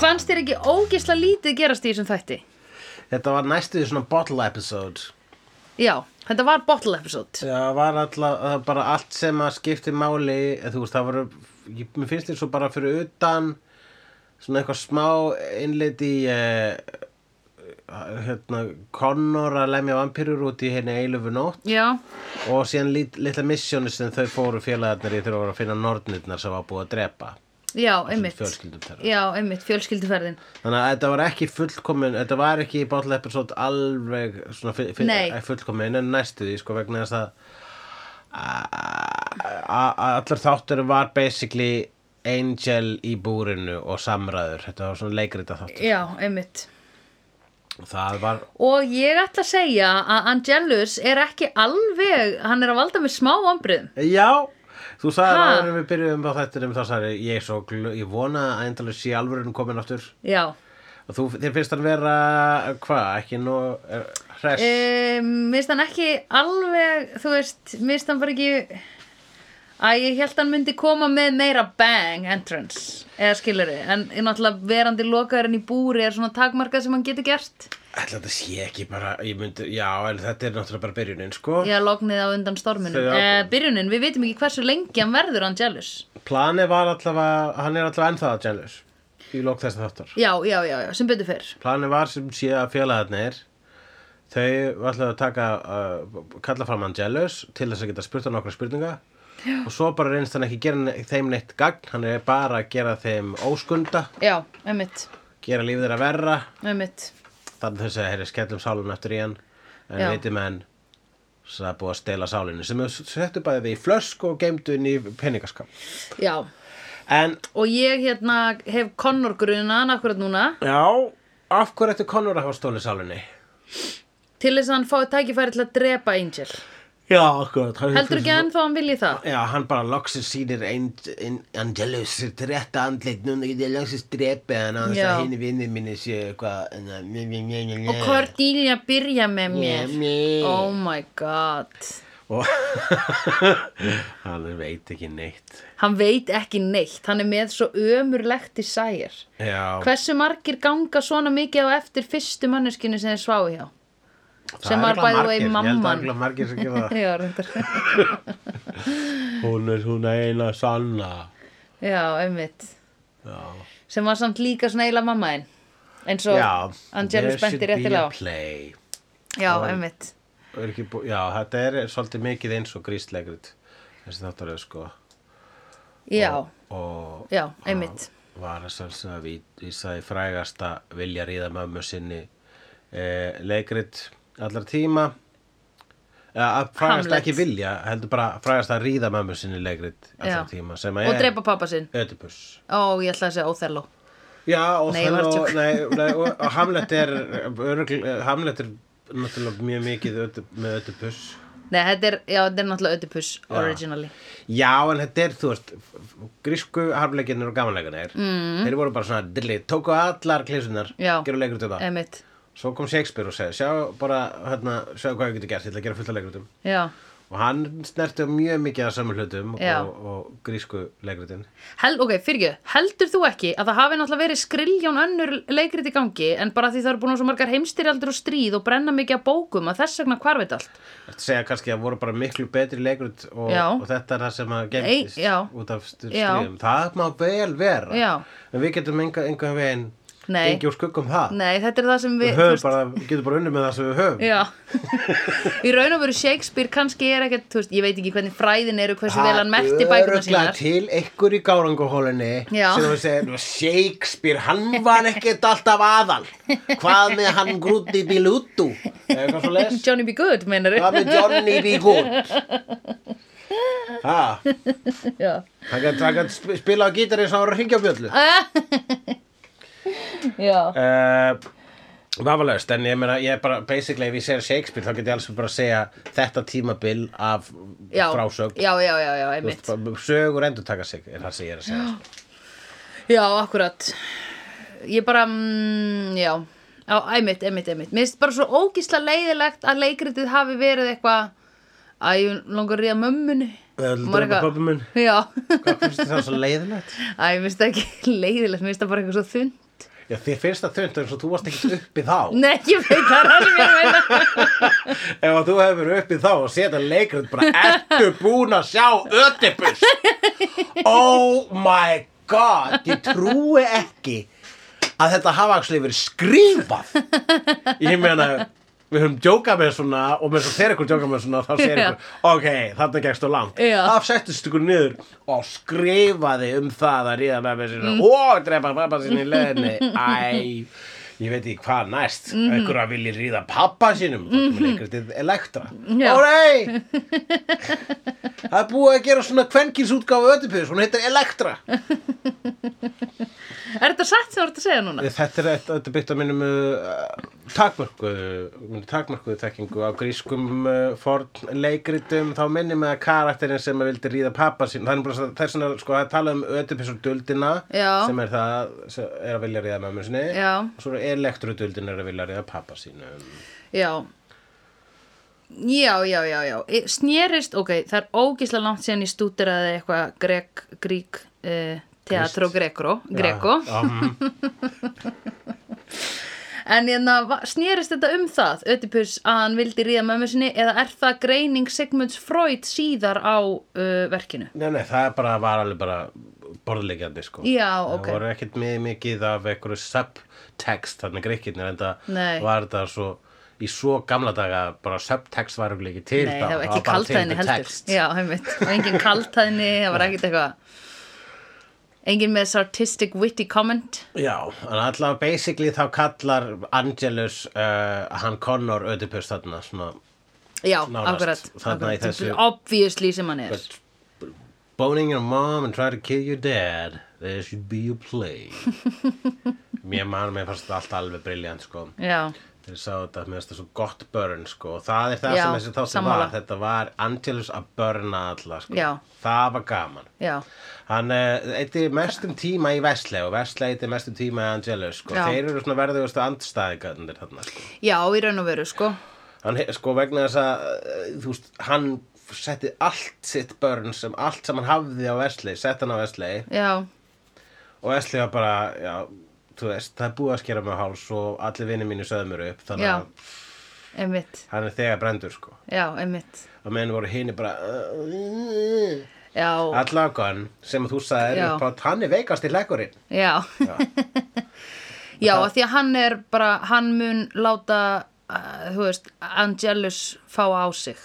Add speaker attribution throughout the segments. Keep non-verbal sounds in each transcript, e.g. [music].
Speaker 1: fannst þér ekki ógisla lítið gerast í þessum þætti?
Speaker 2: Þetta var næstuði svona bottle episode
Speaker 1: Já, þetta var bottle episode.
Speaker 2: Já, það var alltaf, það var bara allt sem að skipti máli, eða þú veist, það voru, ég- mér finnst þér svo bara fyrir utan, svona eitthvað smá innlit í, eh, hérna, Connor að lemja vampýrur út í henni eilöfu nótt
Speaker 1: Já,
Speaker 2: og síðan lit, litla missjónu sem þau fóru félagarnir í þegar voru að finna nornirnar sem var búið að drepa.
Speaker 1: já,
Speaker 2: Ásamt
Speaker 1: einmitt.
Speaker 2: fjölskyldum þeirra.
Speaker 1: Já, einmitt, fjölskylduferðin.
Speaker 2: Þannig að þetta var ekki fullkomin, þetta var ekki í bottle episode alveg svona fyr,
Speaker 1: Nei.
Speaker 2: fullkomin en næstu því sko vegna þess að a- a- a- allar þáttur var basically Angel í búrinu og samræður, þetta var svona leikrita þáttur
Speaker 1: Já, einmitt. Eh.
Speaker 2: það var,
Speaker 1: Og ég ætla að segja að Angelus er ekki alveg, hann er að valda með smá ombriðum.
Speaker 2: já þú sagði
Speaker 1: Ha?
Speaker 2: áður en við byrjuðum á þetta um þá sagði ég er svo, gl- ég vona að endalur sé alvörun komin aftur
Speaker 1: Já,
Speaker 2: og þú, þér finnst hann vera, hvað, ekki nú er- hress
Speaker 1: um, minnst hann ekki alveg, þú veist, minnst hann bara ekki, að ég held hann myndi koma með meira bang entrance, eða skilur þið, en náttúrulega verandi lokaðurinn í búri er svona takmarkað sem hann getur gert.
Speaker 2: Ætla þetta sé ekki bara, ég myndi, já, en þetta er náttúrulega bara byrjunin, sko.
Speaker 1: Já, lognið á undan storminum.
Speaker 2: Þegar-
Speaker 1: Eh, byrjunin, við vitum ekki hversu lengi hann verður Angelus.
Speaker 2: Planið var allavega, hann er allavega ennþá að jealous í lók þess þáttar.
Speaker 1: Já, já, já, já, sem betur fyrr.
Speaker 2: Planið var sem sé að félagarnir, þau var allavega að taka, uh, kalla fram hann jealous til þess að geta spurt hann okkur spurninga. Já. Og svo bara reynst hann ekki gera ne- þeim neitt gagn, hann er bara að gera þeim óskunda,
Speaker 1: Já, einmitt,
Speaker 2: gera lífið þeirra verra,
Speaker 1: einmitt.
Speaker 2: þannig þess að heyri skellum sálun eftir í hann, en
Speaker 1: Já.
Speaker 2: veitum enn, það er búið að stela sálinu sem þau settu bæði í flösk og geimdu inn í peningaskap.
Speaker 1: Já,
Speaker 2: En,
Speaker 1: og ég hérna hef Connor grunan akkurat núna
Speaker 2: já, af hverju ættu Conor að hafa stólið sálinni?
Speaker 1: til þess að hann fái tækifæri til að drepa Angel.
Speaker 2: Já, akkurat.
Speaker 1: Heldur ekki hann þá hann vilji það?
Speaker 2: Já, hann bara loksins sýnir Ang- Ang- Angelus sitt rétta andlit, núna get ég loksins drepið hann á þess
Speaker 1: Já.
Speaker 2: að hinn vinnir minni séu eitthvað, en að mjö, mjö, mjö, mjö, mjö.
Speaker 1: Og Cordelia byrja með
Speaker 2: Mjö,
Speaker 1: mér.
Speaker 2: mjö.
Speaker 1: Oh my god.
Speaker 2: Og [laughs] hann veit ekki neitt.
Speaker 1: Hann veit ekki neitt, hann er með svo ömurlegt í sæjar.
Speaker 2: Já,
Speaker 1: Hversu margir ganga svona mikið á eftir fyrstu manneskinu sem þið sváu hjá?
Speaker 2: það
Speaker 1: sem
Speaker 2: eru
Speaker 1: var
Speaker 2: örugglega
Speaker 1: by the way
Speaker 2: margir. Ég held
Speaker 1: mamman.
Speaker 2: að örugglega margir sem gera það.
Speaker 1: Já,
Speaker 2: [laughs]
Speaker 1: reyndar.
Speaker 2: Hún er svona eina sanna.
Speaker 1: Já, einmitt.
Speaker 2: Já.
Speaker 1: Sem var samt líka svona eiginlega mamma þinn. Eins og
Speaker 2: Já,
Speaker 1: Angelus
Speaker 2: there
Speaker 1: benti
Speaker 2: should be
Speaker 1: réttilega
Speaker 2: a
Speaker 1: á.
Speaker 2: play.
Speaker 1: Já,
Speaker 2: Og-
Speaker 1: einmitt.
Speaker 2: Er ekki bú- Já, þetta er svolítið mikið eins og gríslegrit þessi þáttaröð sko
Speaker 1: Já,
Speaker 2: og
Speaker 1: já, einmitt.
Speaker 2: var að sjálfsögða að ví- vísa í frægasta vilja ríða mömmu sinni eh, leikrit allar tíma eða að frægasta
Speaker 1: Hamlet.
Speaker 2: ekki vilja heldur bara frægasta að ríða mömmu sinni leikrit allar
Speaker 1: Já.
Speaker 2: tíma sem að
Speaker 1: Og
Speaker 2: er
Speaker 1: drepa pappa sinn.
Speaker 2: Ödipus
Speaker 1: Ó, ég ætla að segja Óþelló.
Speaker 2: Já, og,
Speaker 1: Nei,
Speaker 2: það-
Speaker 1: ég var að
Speaker 2: og,
Speaker 1: djóka.
Speaker 2: nei, nei, og, og Hamlet er örugl, Hamlet er náttúrulega mjög mikið ödu, með Ödipus
Speaker 1: Nei, þetta er, já, þetta er náttúrulega Ödipus originally.
Speaker 2: Já, en þetta er, þú veist, grísku harfleikinir og gamanleikinir. Mm. Þeir voru bara svona dilli, tóku allar klisunar,
Speaker 1: Já.
Speaker 2: gerðu leikur til það.
Speaker 1: Einmitt,
Speaker 2: Svo kom Shakespeare og segi, sjá bara, hérna, sjá hvað ég getur gert, ég ætla að gera fullt af leikritum.
Speaker 1: já.
Speaker 2: Og hann snerti á mjög mikið af saman hlutum
Speaker 1: Já.
Speaker 2: og, og grísku leikritin.
Speaker 1: Hel, ok, fyrirgjöð, heldur þú ekki að það hafi náttúrulega verið skriljón önnur leikrit í gangi en bara því það eru búin á svo margar heimstyrjaldur og stríð og brenna mikið að bókum að þess vegna hvarfið allt?
Speaker 2: Þetta segja kannski að voru bara miklu betri leikrit og,
Speaker 1: Já.
Speaker 2: og þetta er það sem að
Speaker 1: Ei, já.
Speaker 2: gengist út af stu-
Speaker 1: Já.
Speaker 2: stríðum. Það má vel vera.
Speaker 1: Já.
Speaker 2: En við getum enga- einhvern veginn
Speaker 1: Nei.
Speaker 2: gengið úr skuggum það.
Speaker 1: Nei, þetta er það sem
Speaker 2: Við
Speaker 1: við...
Speaker 2: höfum bara, við getum bara unnið með það sem við höfum.
Speaker 1: Já, í raun og veru Shakespeare kannski er ekkert, þú veist, ég veit ekki hvernig fræðin eru, hversu vel hann merti bækurnar
Speaker 2: örugglega
Speaker 1: sínar.
Speaker 2: til einhver í gáranguhólinni
Speaker 1: Já.
Speaker 2: sem þú segir, "Nú, Shakespeare, hann var ekkert alltaf aðal hvað með hann grúti í lútu eða eitthvað svo les
Speaker 1: Johnny B. Good, meinar
Speaker 2: hvað með Johnny B. Good ha,
Speaker 1: [laughs] Já. [laughs]
Speaker 2: hann gætt hann gætt spila á gítar eins og hann var að hringja á bjöllu
Speaker 1: Já.
Speaker 2: uh, Vafalaust, en ég meina, ég er bara, basically, ef ég segir Shakespeare, þá get ég alls bara að segja þetta tímabil af
Speaker 1: Já.
Speaker 2: frásögn.
Speaker 1: Já, já, já, já,
Speaker 2: Þú veist,
Speaker 1: einmitt.
Speaker 2: bara Sögur endur taka sig, er það sem ég er að segja. sko.
Speaker 1: Já, akkurat. Ég bara, mm, já, já, einmitt, einmitt, einmitt. Mér finnst bara svo ógísla leiðilegt að leikritið hafi verið eitthvað að ég langar að ríða mömmunni.
Speaker 2: Eða viltu
Speaker 1: Og maður
Speaker 2: drepa
Speaker 1: eitthvað-
Speaker 2: pabba minn?
Speaker 1: Já. [laughs]
Speaker 2: Hvað finnst þér það svo leiðilegt?
Speaker 1: Æ, mér finnst það ekki leiðilegt, mér finnst það bara eitthvað svo þund.
Speaker 2: Já, þér finnst það þönd eins og þú varst ekkert uppi þá
Speaker 1: Nei, ég veit það er alveg að meina
Speaker 2: Ef að þú hefur verið uppi þá og setja leikrit bara Ertu búin að sjá ödipus? Oh my god, ég trúi ekki að þetta hafa actually verið skrifað Ég meina, við höfum djókað með svona og með svo þeir ykkur djókað með svona þá segir
Speaker 1: Já.
Speaker 2: ykkur, ok, þarna gegst þú langt
Speaker 1: Já.
Speaker 2: Það settist ykkur niður og skrifaði um það að ríða með með sinna og drepa pappa sinni í leðinni Æ, ég veit ekki hvað næst mm -hmm. einhverja vilji ríða pappa sínum þá kemur leikritið Elektra
Speaker 1: Já.
Speaker 2: Órei! Það er búið að gera svona kvenkinsútgáfu ödipus, hún heitir Elektra
Speaker 1: Er þetta satt sem þú ert að segja núna?
Speaker 2: Eh, Þetta er þetta, þetta byggt að minnum uh, takmörkuðu takmörkuðu tekkingu á grískum uh, forn leikritum, þá minnum að karakterin sem að vildi ríða pappa sín það er bara svona- það er svona, sko, það er talað um Ödipus og duldina,
Speaker 1: Já.
Speaker 2: sem er það sem er að vilja ríða mömmu sinni
Speaker 1: Já.
Speaker 2: og svo er elektruduldin er að vilja ríða pappa sínum
Speaker 1: Já Já, já, já, já Í- Snerist, ok, það er ógislega langt síðan ég stúderaði eitthvað grek, grík uh, teatro grekro, greko
Speaker 2: Já, mhm.
Speaker 1: En hérna, va- snerist þetta um það, Ödipus, að hann vildi ríða mömmu sinni eða er það greining Sigmunds Freud síðar á uh, verkinu?
Speaker 2: Nei, nei, það er bara, var alveg bara borðleikjandi, sko.
Speaker 1: Já, ok.
Speaker 2: Það voru ekkert mjög mikið af einhverju subtext, þannig greikirnir, en það
Speaker 1: Nei.
Speaker 2: var þetta svo, í svo gamla daga, bara subtext var ekki ekki til
Speaker 1: Nei,
Speaker 2: þá.
Speaker 1: það var ekki
Speaker 2: bara
Speaker 1: kaltæðinni
Speaker 2: til
Speaker 1: heldur.
Speaker 2: text.
Speaker 1: Já, heimitt. Það var engin kaltæðinni, það var ekkert eitthvað. Engin með sartistic witty comment.
Speaker 2: Já, en allavega basically þá kallar Angelus, uh, hann Connor Ödipus þarna, svona
Speaker 1: Já,
Speaker 2: Nánast,
Speaker 1: akkurat.
Speaker 2: þarna í
Speaker 1: akkurat.
Speaker 2: þessu-
Speaker 1: Obviously sem hann er.
Speaker 2: But boning your mom and try to kill your dad, there should be a
Speaker 1: [laughs]
Speaker 2: play. mér mann, mér fannst þetta alltaf alveg briljant, sko.
Speaker 1: Já,
Speaker 2: Þeir sá þetta, mér finnst þetta svo gott börn sko og það er það
Speaker 1: Já,
Speaker 2: sem þessi þáttu
Speaker 1: sammála.
Speaker 2: var þetta var Angelus að börna alla sko
Speaker 1: Já.
Speaker 2: það var gaman
Speaker 1: já,
Speaker 2: hann uh, eitti mestum tíma í Vesle og Vesle eitti mestum tíma í Angelus sko
Speaker 1: Já.
Speaker 2: þeir eru svona verðugustu andstæðingarnir þarna sko
Speaker 1: já, í raun og veru, sko.
Speaker 2: hann, he- sko vegna þess að eh, þú veist, hann setti allt sitt börn sem allt sem hann hafði á Vesle sett hann á Vesle
Speaker 1: Já,
Speaker 2: og Esli var bara já, þú veist, það er búið að skera með háls og allir vinir mínu söðumur upp þannig
Speaker 1: já,
Speaker 2: að
Speaker 1: einmitt.
Speaker 2: hann er þegar brendur sko
Speaker 1: Já, einmitt.
Speaker 2: og menn voru hini bara
Speaker 1: Já,
Speaker 2: allagan sem þú sagðir
Speaker 1: Já.
Speaker 2: upp á hann er veikast í legurinn
Speaker 1: já. [laughs] Já, af því að hann er bara, hann mun láta, uh, þú veist, Angelus fá á sig.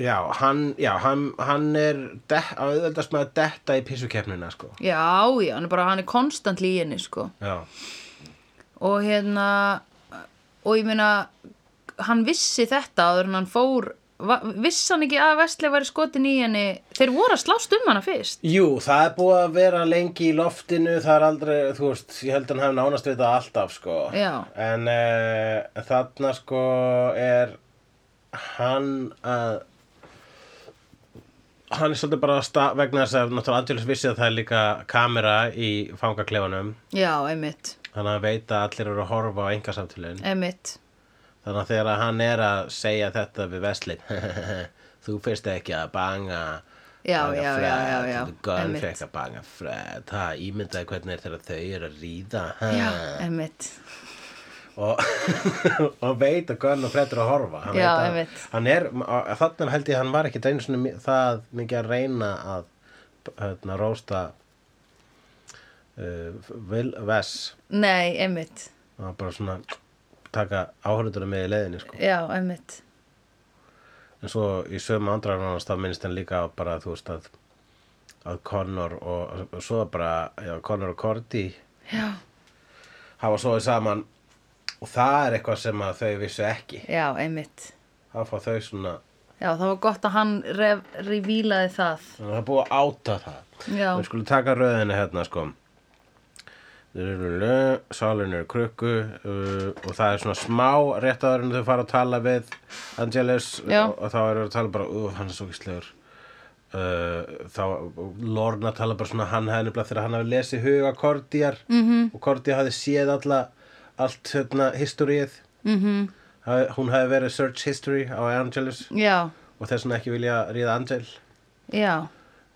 Speaker 2: já, hann, já, hann, hann er de- að auðveldast með að detta í pissukeppnina sko
Speaker 1: Já, já, hann er bara, hann er konstantli í henni, sko.
Speaker 2: já,
Speaker 1: og hérna og ég meina hann vissi þetta áður en hann fór va- vissi hann ekki að Vesli væri skotin í henni þeir voru að slást um hana fyrst
Speaker 2: Jú, það er búið að vera lengi í loftinu, það er aldrei, þú veist, ég held að hann hafi nánast við það alltaf, sko.
Speaker 1: Já.
Speaker 2: En uh, þarna, sko, er hann að, hann er svolítið bara að stað, vegna þess að, náttúrulega, Angelus vissi að það er líka kamera í fangaklefanum,
Speaker 1: já, einmitt,
Speaker 2: þannig að hann veit að allir eru að horfa á engasamtölun.
Speaker 1: einmitt
Speaker 2: Þannig að þegar hann er að segja þetta við Veslin, [laughs] þú fyrst ekki að banga
Speaker 1: Já,
Speaker 2: banga
Speaker 1: já, já,
Speaker 2: Fred,
Speaker 1: já, já,
Speaker 2: Þú gönn
Speaker 1: einmitt.
Speaker 2: fekk að banga Fred, ha, ímyndaði hvernig er þegar þau eru að ríða ha.
Speaker 1: já, einmitt,
Speaker 2: og, [laughs] og veit að Gunn og Fred eru að horfa hann
Speaker 1: Já,
Speaker 2: veit að,
Speaker 1: einmitt.
Speaker 2: hann er, að þannig held ég að hann var ekki einu svona það mikið að reyna að hérna, rósta uh, Vil Vess
Speaker 1: nei, einmitt
Speaker 2: og bara svona taka áhörðuna með í leiðinni sko.
Speaker 1: já, einmitt,
Speaker 2: En svo í sömu andrar hans þá minnst hann líka á bara þú veist að að Connor og, og svo bara já, Connor og Cordy
Speaker 1: já,
Speaker 2: hafa svoðið saman og það er eitthvað sem að þau vissu ekki
Speaker 1: já, einmitt
Speaker 2: það fá þau svona
Speaker 1: já, það var gott að hann rev, revílaði það
Speaker 2: þannig að það er búið að áta það
Speaker 1: já,
Speaker 2: við skulum taka röðina hérna sko Sálun er krukku uh, og það er svona smá rétt áður en þau fara að tala við Angelus
Speaker 1: Já.
Speaker 2: og, og þá eru að tala bara, uh, hann er svo kistlegur Uh, þá Lorna tala bara svona hann hefði nefnilega þegar hann hefði lesið huga Kordíjar
Speaker 1: Mhm.
Speaker 2: -hmm. og Kordíjar hafði séð alla allt hérna historið mm
Speaker 1: Mhm.
Speaker 2: -hmm. hún hefði verið search history á Angelus
Speaker 1: já,
Speaker 2: og þess vegna ekki vilja ríða Angel
Speaker 1: já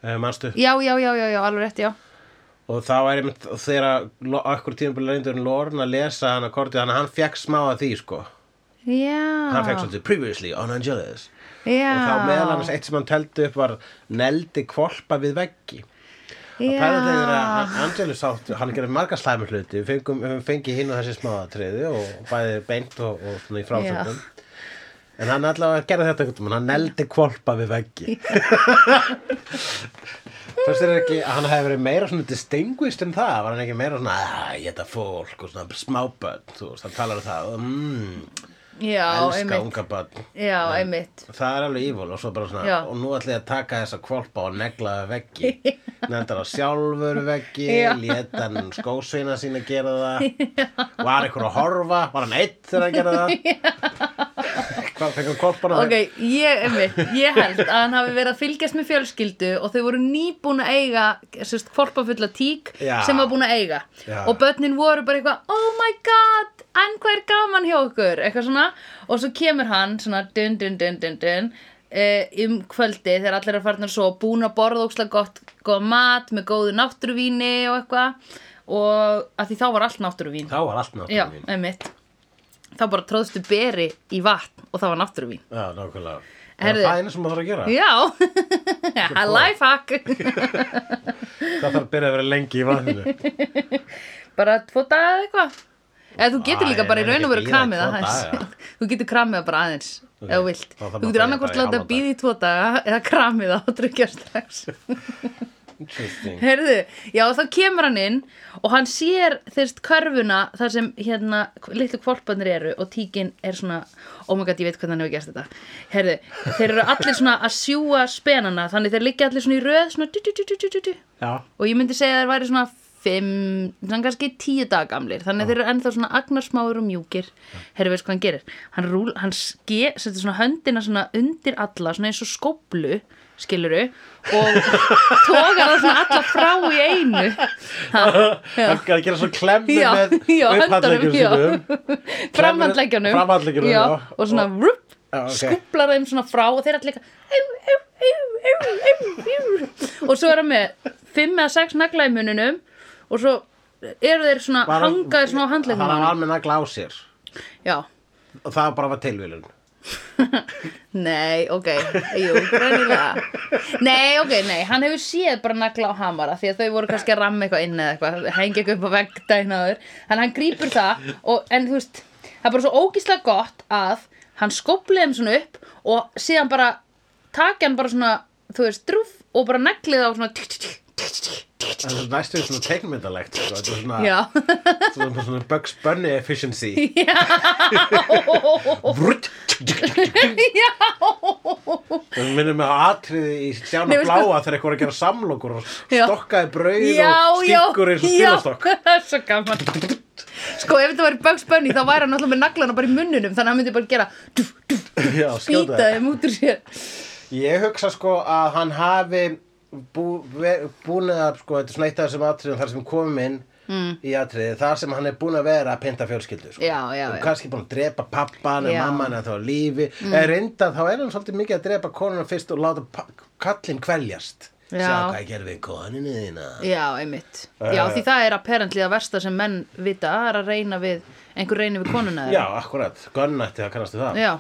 Speaker 2: uh, manstu
Speaker 1: já, já, já, já, já, alveg rétt, já
Speaker 2: og þá er einmitt þegar lo- á ekkur tíðanbúl reyndur en Lorne að lesa hann akkordið þannig að hann fekk smá að því sko
Speaker 1: já
Speaker 2: hann fekk svolítið previously on Angelus
Speaker 1: já,
Speaker 2: og þá meðal annars eitt sem hann teldi upp var neldi kvolpa við veggi og pæla þegar
Speaker 1: já,
Speaker 2: að Angelus átt hann gerði marga slæmi hluti við fengum, við fengið hinn og þessi smáðatriði og bæði beint og, og svona í frásöndum en hann allavega gerði þetta einhvern veginn hann neldi kvolpa við veggi [laughs] Fannst þér ekki að hann hefði verið meira svona distinguist en það, var hann ekki meira svona að ég þetta fólk og svona smábönd þú veist, hann talar um það og mmm,
Speaker 1: já,
Speaker 2: elska
Speaker 1: einmitt
Speaker 2: unga bönd
Speaker 1: já, einmitt
Speaker 2: Það er alveg ívól og svo bara svona
Speaker 1: Já.
Speaker 2: og nú ætla ég að taka þessa kvolpa og negla það veggi
Speaker 1: [laughs]
Speaker 2: nefndar á sjálfur veggi
Speaker 1: Já.
Speaker 2: létan skósveina sína gera
Speaker 1: [laughs]
Speaker 2: það var einhver að horfa var hann eitt þegar hann
Speaker 1: [laughs]
Speaker 2: gera það [laughs] hvað fekk hann kvolpana
Speaker 1: ok, ég, einmitt, ég held að hann hafi verið að fylgjast með fjölskyldu og þau voru nýbúin að eiga sérst, kvolpafulla tík
Speaker 2: Já.
Speaker 1: sem var búin að eiga
Speaker 2: Já.
Speaker 1: og börnin voru bara eitthvað oh my god, en hvað er gaman hjá okkur eitthvað svona, og svo kemur hann svona dun dun dun dun dun eh, um kvöldi þegar allir er farin að svo búin að borða ókslega gott, gott mat með góðu náttúruvíni og eitthvað og að því þá var allt náttúruvín
Speaker 2: þá var allt
Speaker 1: já,
Speaker 2: náttúruvín
Speaker 1: einmitt þá bara tróðstu beri í vatn og það var náttúruvín
Speaker 2: já, nákvæmlega Það er
Speaker 1: Herðu.
Speaker 2: það eina sem maður þarf að gera
Speaker 1: Já, [laughs] lifehack
Speaker 2: það þarf að byrja að vera lengi í vatninu
Speaker 1: [laughs] Bara tvo daga eða eitthvað Eða þú getur
Speaker 2: Æ,
Speaker 1: líka bara í
Speaker 2: ég
Speaker 1: raun og
Speaker 2: nenni
Speaker 1: veru
Speaker 2: ekki að
Speaker 1: kramið
Speaker 2: bíða í tvo daga.
Speaker 1: aðeins [laughs] Þú getur kramið það bara aðeins
Speaker 2: Ok,
Speaker 1: Ef þú vilt
Speaker 2: þá þarf
Speaker 1: Þú
Speaker 2: maður
Speaker 1: getur
Speaker 2: bara
Speaker 1: annarkvort
Speaker 2: bara í
Speaker 1: láta
Speaker 2: hálfan
Speaker 1: býði í tvo daga Eða kramið það og drukja strax
Speaker 2: Interesting.
Speaker 1: Heyrðu, já þá kemur hann inn Og hann sér þérst körfuna Þar sem hérna litlu kvolpanir eru Og tíkin er svona Oh my god, ég veit hvernig hann hefur gert þetta Heyrðu, þeir eru allir svona að sjúga spenana Þannig þeir liggja allir svona í röð Svona du, du, du, du, du, du, du.
Speaker 2: já,
Speaker 1: og ég myndi segja að þeir væri svona fimm, svona kannski tíu dag gamlir þannig að þeir eru ennþá svona agnarsmáður og mjúkir herru veist hvað hann gerir hann, rúl, hann ske, setur svona höndina svona undir alla, svona eins og skóplu skiluru og [laughs] tókar það svona alla frá í einu
Speaker 2: hann kann gera svo klemmi
Speaker 1: já,
Speaker 2: með
Speaker 1: já, höndunum
Speaker 2: upphandleggjum
Speaker 1: já.
Speaker 2: sínum
Speaker 1: framhandleggjanum
Speaker 2: Framhandleggjunum,
Speaker 1: já,
Speaker 2: já.
Speaker 1: og svona rup,
Speaker 2: Já, ok.
Speaker 1: skúplar þeim svona frá og þeir allir eitthvað "Ew, ew, ew, ew, ew, ew." og svo er hann með fimm eða sex nagla í mununum og svo eru þeir svona
Speaker 2: Var hann-
Speaker 1: hangaðir svona á handleggjum
Speaker 2: hann
Speaker 1: á
Speaker 2: var
Speaker 1: honum.
Speaker 2: alveg nagla á sér
Speaker 1: já,
Speaker 2: og það bara var tilvílun
Speaker 1: nei, ok jú, greinilega nei, ok, nei, hann hefur séð bara nagla á hamara því að þau voru kannski að ramma eitthvað inn eða eitthvað, hengi eitthvað upp á vegg daginn áður en hann grípur það og, en þú veist, það er bara svo ógíslega gott að hann skóplið þeim svona upp og síðan bara taki hann bara svona, þú veist, drúf og bara neglið á svona tík, tík, tík, tík, tík, tík,
Speaker 2: það er næstu svona teiknmyndalegt sko. þetta er svona,
Speaker 1: já,
Speaker 2: svona, svona Bugs Bunny efficiency
Speaker 1: já [laughs]
Speaker 2: Vrrt. það minnum mig á atriði í stjána
Speaker 1: Nei, veistu
Speaker 2: bláa þegar eitthvað er að gera samlokur og
Speaker 1: Já.
Speaker 2: stokkaði brauð
Speaker 1: já,
Speaker 2: og
Speaker 1: já,
Speaker 2: stingur eins og
Speaker 1: já,
Speaker 2: spilastokk
Speaker 1: [laughs] það er svo gaman sko ef þetta væri Bugs Bunny þá væri hann alltaf með naglana bara í munnunum þannig að hann myndi bara gera duf, duf,
Speaker 2: Já, skjóta
Speaker 1: býta
Speaker 2: það.
Speaker 1: þeim út úr sér
Speaker 2: ég hugsa sko að hann hafi bú, ve- búin að sko, þetta er svona eitt af þessum atriðum þar sem við komum inn í atriði, þar sem hann er búin að vera að pynta fjölskyldu sko.
Speaker 1: Mm. Já, já,
Speaker 2: og
Speaker 1: já.
Speaker 2: kannski búin að drepa pappan en
Speaker 1: Já.
Speaker 2: mamman er þá á lífi mm. en reynda þá er hann svolítið mikið að drepa konuna fyrst og láta pa- kallinn kveljast
Speaker 1: Já.
Speaker 2: sjá hvað ég gerði við koninu þína
Speaker 1: já, einmitt já,
Speaker 2: Eh.
Speaker 1: því það er apparently að versta sem menn vita það er að reyna við, einhver reyna við konuna
Speaker 2: já, akkurat, gönnætti það kannast við það
Speaker 1: já,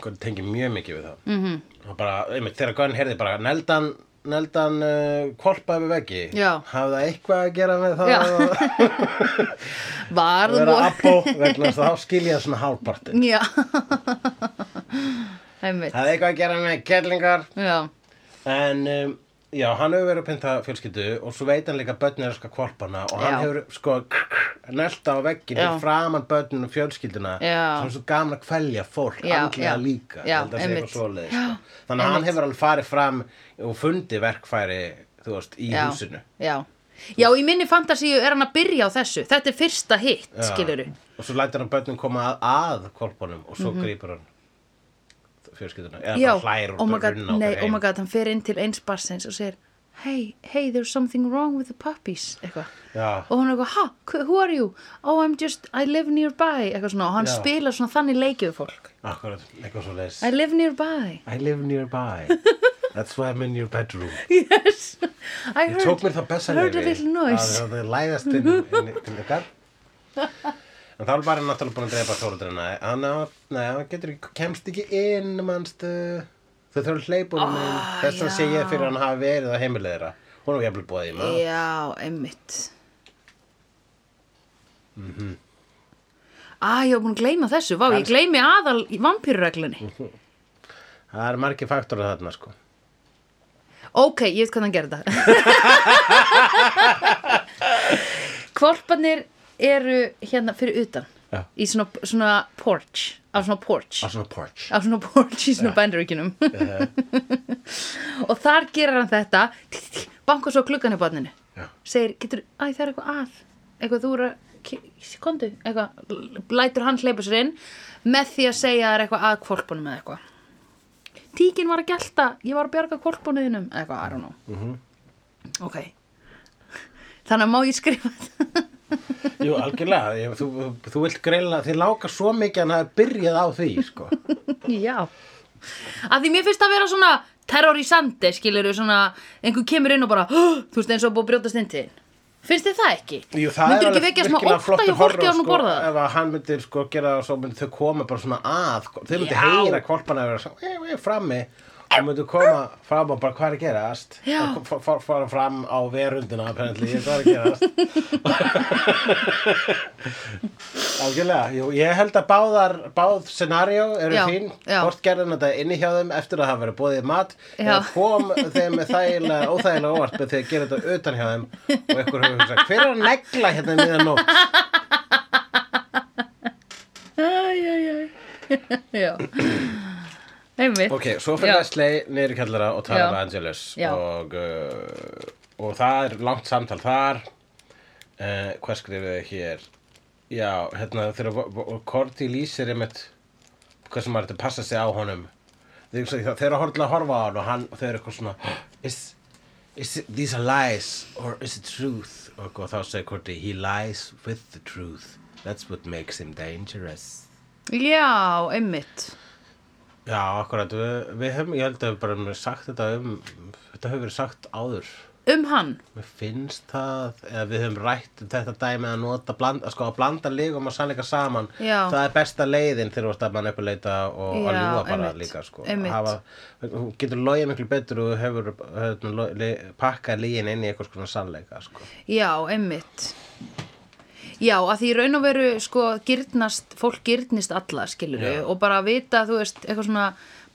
Speaker 2: Gunn tengir mjög mikið við það mm
Speaker 1: Mhm.
Speaker 2: -hmm. bara, einmitt, þegar Gunn heyrði bara neldan, neldan uh, kvolpaði með veggi
Speaker 1: Já.
Speaker 2: hafði það eitthvað að gera með það
Speaker 1: Já.
Speaker 2: að
Speaker 1: [laughs] var
Speaker 2: vera abbo vegna þess að þá skilja svona hálparti
Speaker 1: já einmitt
Speaker 2: hafði eitthvað að gera með kellingar
Speaker 1: já,
Speaker 2: en um, já, hann hefur verið að pinta fjölskyldu og svo veit hann líka að börnin er að sko kvolpana og hann
Speaker 1: Já.
Speaker 2: hefur sko nelda á veggin
Speaker 1: Já.
Speaker 2: fyrir framan börnin og fjölskylduna
Speaker 1: Já.
Speaker 2: sem er svo gaman að kvelja fólk
Speaker 1: Já,
Speaker 2: andlega
Speaker 1: já.
Speaker 2: líka
Speaker 1: Já,
Speaker 2: ég held að sé
Speaker 1: einmitt.
Speaker 2: eitthvað svoleiðis, sko. þannig að hann hefur alveg farið fram og fundi verkfæri þú veist, í
Speaker 1: já,
Speaker 2: húsinu
Speaker 1: já já, í minni fantasíu er hann að byrja á þessu þetta er fyrsta hitt,
Speaker 2: Já.
Speaker 1: skiluru
Speaker 2: og svo lætur hann börnin koma að, að kvolpunum og svo grípur hann fjölskylduna eða
Speaker 1: Mhm. já,
Speaker 2: bara hlær og
Speaker 1: oh my god,
Speaker 2: runna og
Speaker 1: nei,
Speaker 2: fer
Speaker 1: oh
Speaker 2: heim.
Speaker 1: my god, hann fer inn til eins barsins og segir hey, hey, there's something wrong with the puppies eitthvað
Speaker 2: Já.
Speaker 1: og hann er eitthvað, ha, who- who are you? oh, I'm just, I live nearby eitthvað svona, og hann
Speaker 2: Já.
Speaker 1: spilar svona þannig leikið við fólk
Speaker 2: [laughs] Akkurat, eitthvað svo leis
Speaker 1: I live nearby [laughs]
Speaker 2: I live nearby That's why I'm in your bedroom
Speaker 1: yes I
Speaker 2: Ég tók mér það
Speaker 1: heard,
Speaker 2: besta
Speaker 1: heard a
Speaker 2: leyfi
Speaker 1: little noise.
Speaker 2: að það læðast inn, inn til
Speaker 1: [laughs]
Speaker 2: ykkar En þá er bara náttúrulega búin að drepa Þóruldrana Hann á- nei, hann getur ekki, kemst ekki inn manstu Þau þurfum að hleypa honum inn Þess að
Speaker 1: Ah, já.
Speaker 2: sé ég fyrir að hann hafi verið á heimilið þeirra Hún er jafnvel búið í maður
Speaker 1: já, einmitt
Speaker 2: Mhm.
Speaker 1: Æ, ég var búin að gleyma þessu, vá, ég gleymi aðal vampýrureglunni.
Speaker 2: Það er margir faktorar þarna sko
Speaker 1: Ok, ég veit hvernig hann [laughs] gerði það. Kvolparnir eru hérna fyrir utan,
Speaker 2: Já.
Speaker 1: í svona, svona porch, á svona porch,
Speaker 2: Á svona porch
Speaker 1: á svona porch í svona bændaríkinum. [laughs] og þar gerir hann þetta, banka svo á klukkan í barninu.
Speaker 2: Já.
Speaker 1: segir, getur, æ það er eitthvað að eitthvað þú eru að, ki- komdu eitthvað, l- lætur hann hleypa sér inn með því að segja það er eitthvað að kvolpunum eða eitthvað tíkin var að gelta, ég var að bjarga kvolpunuðinum eða eitthvað, I don't know ok [laughs] þannig að má ég skrifa þetta
Speaker 2: Jú, algjörlega, ég, þú, þú- þú vilt greila þið lákar svo mikið að hann hafi byrjað á því sko.
Speaker 1: já að því mér finnst að vera svona terrorisandi, skilur við svona einhver kemur inn og bara, "Hú!" þú veist eins og búið að brjóta stindiðin finnst þið það ekki?
Speaker 2: Jú, það
Speaker 1: myndir
Speaker 2: er
Speaker 1: ekki
Speaker 2: alveg
Speaker 1: vekja smá
Speaker 2: virkilega
Speaker 1: ótta í
Speaker 2: flottur horror,
Speaker 1: fólki á hann að
Speaker 2: sko,
Speaker 1: borða það?
Speaker 2: Ef að hann myndir sko gera það svo myndir þau koma bara svona að sko, þau myndir
Speaker 1: Já.
Speaker 2: heyra kvolpana vera svona, e, e, frammi og myndir koma fram og bara hvað er að gerast
Speaker 1: Já.
Speaker 2: og f- f- fara fram á verundina apparently, hvað er að gerast [laughs] Algjörlega, jú, ég held að báðar báð scenario eru
Speaker 1: Já,
Speaker 2: þín
Speaker 1: já.
Speaker 2: hvort gerðan þetta inni hjá þeim eftir að hafa verið bóðið mat
Speaker 1: Já.
Speaker 2: eða kom þeim með þægilega, óþægilega óvart með því að gera þetta utan hjá þeim og ykkur hefur hugsað, hver er að negla hérna miðan nótt?
Speaker 1: Æj, æj, æj. [laughs] Já. Einmitt.
Speaker 2: Ok, svo fyrir
Speaker 1: Já.
Speaker 2: Leslie niður í kallara og tala
Speaker 1: Já.
Speaker 2: með Angelus
Speaker 1: Já.
Speaker 2: og, uh, og það er langt samtal þar uh, hvað skrifuðu hér já, hérna þegar Vo- Vo- Cordy lýsir einmitt hvað sem maður þetta passa sig á honum þeir, þeir, þeir eru að horfa til að horfa á hann og hann, og þeir eru eitthvað svona [gasps] is, is it, these are lies or is it truth og, og þá segir Cordy he lies with the truth that's what makes him dangerous
Speaker 1: Já, einmitt.
Speaker 2: Já, akkurat, við, við hefum, ég held að við bara hefum sagt þetta um, þetta hefur verið sagt áður.
Speaker 1: Um hann.
Speaker 2: Mér finnst það, eða við hefum rætt um þetta dæmi að nota, blanda, sko, að blanda líkum og sannleika saman.
Speaker 1: Já.
Speaker 2: Það er besta leiðin þegar þú ert að manipuleita og
Speaker 1: Já,
Speaker 2: að ljúga bara
Speaker 1: einmitt,
Speaker 2: líka, sko.
Speaker 1: einmitt.
Speaker 2: Hafa, þú getur logið miklu betur og þú hefur, hefur lo- le- pakkað lígin inn í eitthvað svona sannleika, sko.
Speaker 1: Já, einmitt. Já, að því í raun og veru, sko, gyrnast, fólk gyrnist alla, skilur
Speaker 2: Já.
Speaker 1: og bara vita, þú veist, eitthvað svona,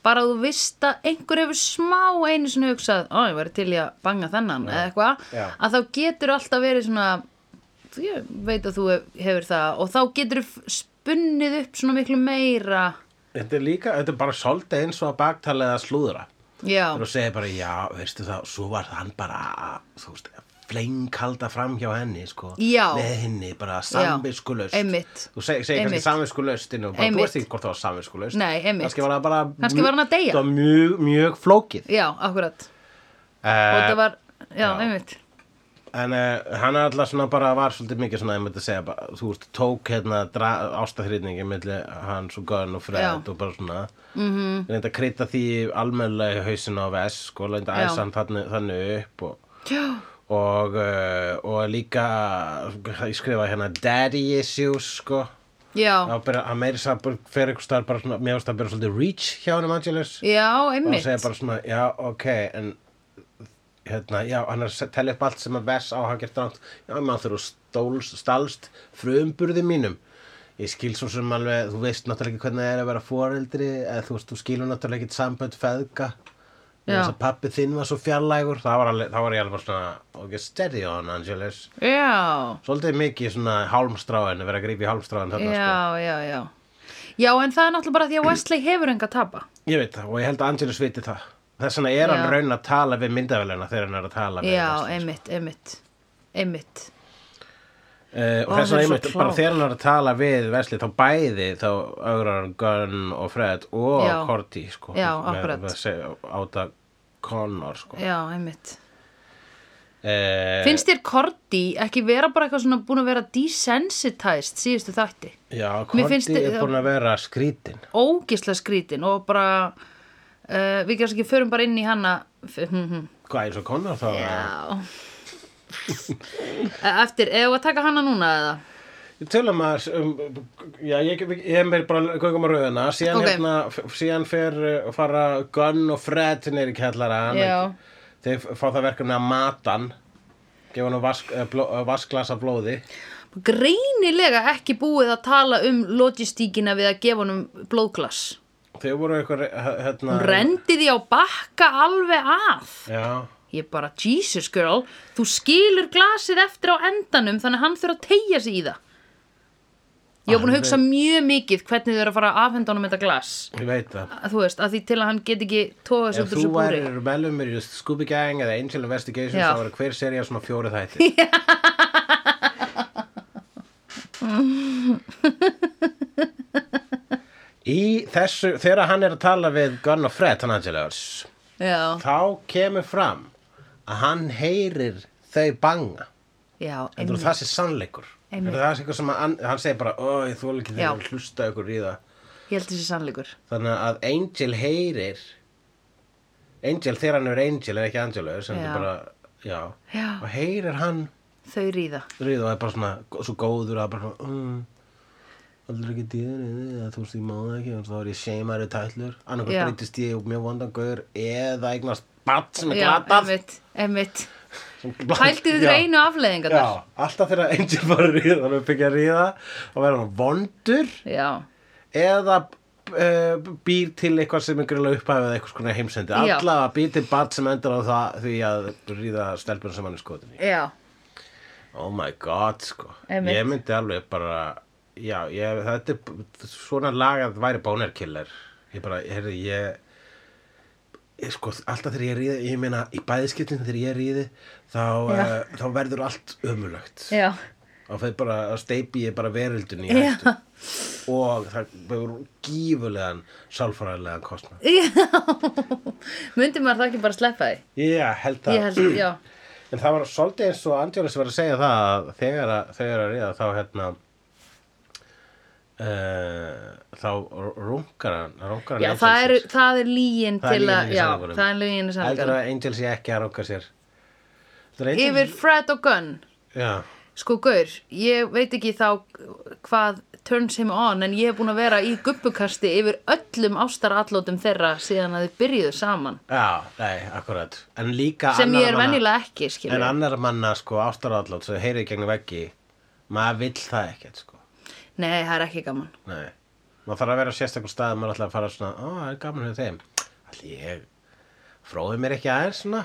Speaker 1: bara að þú veist að einhver hefur smá einu svona hugsað, ó, ég væri til í að banga þennan, eða eitthvað,
Speaker 2: Já.
Speaker 1: að þá getur alltaf verið svona, þú- ég veit að þú hef- hefur það, og þá getur spunnið upp svona miklu meira,
Speaker 2: Þetta er líka, þetta er bara svolítið eins og að baktala eða slúðra.
Speaker 1: já,
Speaker 2: og segja bara já, veistu það, svo var hann bara að, þú veist, flengkalda fram hjá henni, sko
Speaker 1: Já.
Speaker 2: með henni, bara samviskulaust
Speaker 1: einmitt.
Speaker 2: þú seg, segir
Speaker 1: Einmitt.
Speaker 2: kannski samviskulaust inn og bara, þú
Speaker 1: Einmitt.
Speaker 2: veist ekki hvort það var samviskulaust
Speaker 1: Nei, einmitt.
Speaker 2: kannski var það bara
Speaker 1: Kannski var hann að deyja.
Speaker 2: það var mjög, mjög flókið
Speaker 1: já, akkurat. og
Speaker 2: uh,
Speaker 1: þetta var, já,
Speaker 2: já.
Speaker 1: einmitt
Speaker 2: en uh, hann er alltaf svona bara var svolítið mikið svona, ég myndi segja bara, þú veist, tók hérna ástafrýtningi milli hans og Gunn og Fred
Speaker 1: Já. Mhm.
Speaker 2: og bara svona mm -hmm. reynda að krita því almennlega í hausinu á Vess, sko, reynda að
Speaker 1: Já.
Speaker 2: æsa hann þannig, þannig upp og
Speaker 1: já,
Speaker 2: og, uh, og líka ég skrifaði hérna daddy issues sko
Speaker 1: já,
Speaker 2: þá byrja að meiri sá fyrir ykkur staðar bara svona mér finnst það byrja svolítið reach hjá hann um Angelus
Speaker 1: já
Speaker 2: og
Speaker 1: einmitt
Speaker 2: segja bara svona já ok en hérna já hann er að tella upp allt sem að Vess á hafa gert rátt já maður þurfa stólst stálst frumburði mínum ég skil svo sem alveg þú veist náttúrulega ekki hvernig það er að vera foreldri eða þú veist þú skilur náttúrulega ekki sambönd feðga
Speaker 1: Já.
Speaker 2: þess að pappi þinn var svo fjarlægur það var, alveg, það var ég alveg bara svona ok, steady on Angelus
Speaker 1: já,
Speaker 2: svolítið mikið svona hálmstráin að vera að grípa í hálmstráin þarna sko.
Speaker 1: já, já, já já, en það er náttúrulega bara því að Wesley hefur enga tapa
Speaker 2: ég veit það og ég held að Angelus viti það þess vegna er hann
Speaker 1: Já.
Speaker 2: raun að tala við myndavælina þegar hann er sko. að tala við
Speaker 1: já,
Speaker 2: Angelus.
Speaker 1: einmitt, einmitt einmitt,
Speaker 2: Eh, og þess
Speaker 1: Ó, hann
Speaker 2: vegna
Speaker 1: er svo
Speaker 2: einmitt, bara
Speaker 1: klár.
Speaker 2: þegar hann er að tala við Vesli þá bæði þá augrar hann Gunn og Fred og
Speaker 1: Já.
Speaker 2: Cordy sko,
Speaker 1: Já,
Speaker 2: með-
Speaker 1: akkurat.
Speaker 2: með að segja- áta Connor sko.
Speaker 1: já, einmitt
Speaker 2: eh,
Speaker 1: finnst þér Korti ekki vera bara eitthvað svona búin að vera desensitized síðustu þætti
Speaker 2: já,
Speaker 1: Mér
Speaker 2: Cordy
Speaker 1: finnst þið-
Speaker 2: er búin að vera skrítin
Speaker 1: ógislega skrítin og bara uh, við kannski ekki eh, förum bara inn í hana F- hm, hm.
Speaker 2: Hvað eins og konar þá?
Speaker 1: Já [laughs] Eftir, eða að taka hana núna eða?
Speaker 2: Ég tölum að, um, já, ég, ég er meir bara göngum að rauðina, síðan
Speaker 1: Ok.
Speaker 2: hérna, f- síðan fer uh, fara Gunn og Fred neyri kjallaran,
Speaker 1: Já.
Speaker 2: þeir fá það verkefni að matan, gefa hann vask, eh, bló, eh, vasklas af blóði.
Speaker 1: Greinilega ekki búið að tala um logistíkina við að gefa honum blóðglas
Speaker 2: Þau voru eitthvað, eh, hérna...
Speaker 1: Hún rendi því á bakka alveg að
Speaker 2: Já,
Speaker 1: Ég bara, Jesus girl, þú skilur glasið eftir á endanum þannig að hann þurfa að tegja sig í það. Ég var búin að hugsa mjög mikið hvernig þau eru að fara að afhenda honum þetta glas.
Speaker 2: ég veit það.
Speaker 1: Að Þú veist, að því til að hann get ekki tóða sig
Speaker 2: Ef
Speaker 1: út úr
Speaker 2: þú
Speaker 1: þessu búri.
Speaker 2: værir meðlumur í just Scooby Gang eða Angel Investigations,
Speaker 1: Já.
Speaker 2: þá verður hver serið svona fjóri þætti.
Speaker 1: [laughs]
Speaker 2: í þessu, þegar hann er að tala við Gunn og Fred, hann Angelars,
Speaker 1: Já,
Speaker 2: þá kemur fram að hann heyrir þau banga.
Speaker 1: já,
Speaker 2: Þetta er
Speaker 1: einmitt.
Speaker 2: það sé sannleikur.
Speaker 1: Einmitt.
Speaker 2: Þetta er það sé eitthvað sem að, hann segir bara, ó, ég þóla ekki
Speaker 1: Já.
Speaker 2: þegar að hlusta ykkur í það.
Speaker 1: Ég held þessi sannleikur.
Speaker 2: Þannig að Angel heyrir Angel þegar hann er Angel er ekki Angelus en
Speaker 1: Já.
Speaker 2: þetta er bara, já.
Speaker 1: Já.
Speaker 2: og heyrir hann
Speaker 1: Þau ríða.
Speaker 2: ríð og er bara svona svo góður að bara svona mm, aldrei ekki dýðinni eða þú veist ég máða ekki og þá er ég seimari tætlur annarkur
Speaker 1: Já.
Speaker 2: breytist ég og mjög vondan gauður eða eignast batt sem er
Speaker 1: Já,
Speaker 2: glatað
Speaker 1: einmitt, einmitt.
Speaker 2: Sem glatað-
Speaker 1: Pældi þið
Speaker 2: Já.
Speaker 1: reynu afleðingar þar?
Speaker 2: Já, alltaf þegar Angel var að ríða þannig að byggja að ríða og vera hann vondur
Speaker 1: Já,
Speaker 2: eða uh, býr til eitthvað sem er grilla upphæfið eitthvað skona heimsendi
Speaker 1: Já.
Speaker 2: allavega býr til bat sem endur á það því að ríða stelpun sem hann er skotin í
Speaker 1: já,
Speaker 2: oh my god sko
Speaker 1: Einmitt.
Speaker 2: ég myndi alveg bara já, ég, þetta er b- svona lag að væri bónerkiller ég bara, heyrðu, ég Ég, sko, alltaf þegar ég ríði, ég meina í bæðiskiptin þegar ég ríði þá,
Speaker 1: Já.
Speaker 2: uh, þá verður allt ömulögt
Speaker 1: já, [laughs]
Speaker 2: og það bara að steipi ég bara veröldun í
Speaker 1: Já.
Speaker 2: hættu og það verður gífulegan sálfræðilegan kostnað
Speaker 1: Myndi maður það ekki bara sleppa því?
Speaker 2: ég held
Speaker 1: Ég
Speaker 2: það
Speaker 1: held, já,
Speaker 2: en það var svolítið eins og Andjólis var að segja það að þegar að, þegar að ríða þá hérna uh, þá rungar hann rungar hann
Speaker 1: Já,
Speaker 2: Angel
Speaker 1: [clears throat] það er,
Speaker 2: sér.
Speaker 1: það er lígin
Speaker 2: Það er
Speaker 1: til
Speaker 2: lygin
Speaker 1: að,
Speaker 2: í
Speaker 1: já,
Speaker 2: sannleikanum.
Speaker 1: það er lígin í
Speaker 2: heldur
Speaker 1: sannleikanum.
Speaker 2: að Angel sé ekki að runga sér Það er Angel-
Speaker 1: Yfir Fred og Gunn,
Speaker 2: já,
Speaker 1: sko gaur, ég veit ekki þá hvað turns him on, en ég hef búin að vera í guppukasti yfir öllum ástarallótum þeirra síðan að þið byrjuðu saman,
Speaker 2: já, nei, akkurat en líka
Speaker 1: sem ég
Speaker 2: annarra
Speaker 1: er
Speaker 2: manna-
Speaker 1: venjulega ekki,
Speaker 2: En
Speaker 1: skilur.
Speaker 2: annar manna sko ástarállót sem heyrið gegnum veggi, maður vill það ekkert sko.
Speaker 1: Nei, það er ekki gaman.
Speaker 2: Nei. Maður þarf að vera á sérstakur stað maður ætla að fara svona, ó, það er gaman hjá þeim. Allir ég fróði mér ekki aðeins svona.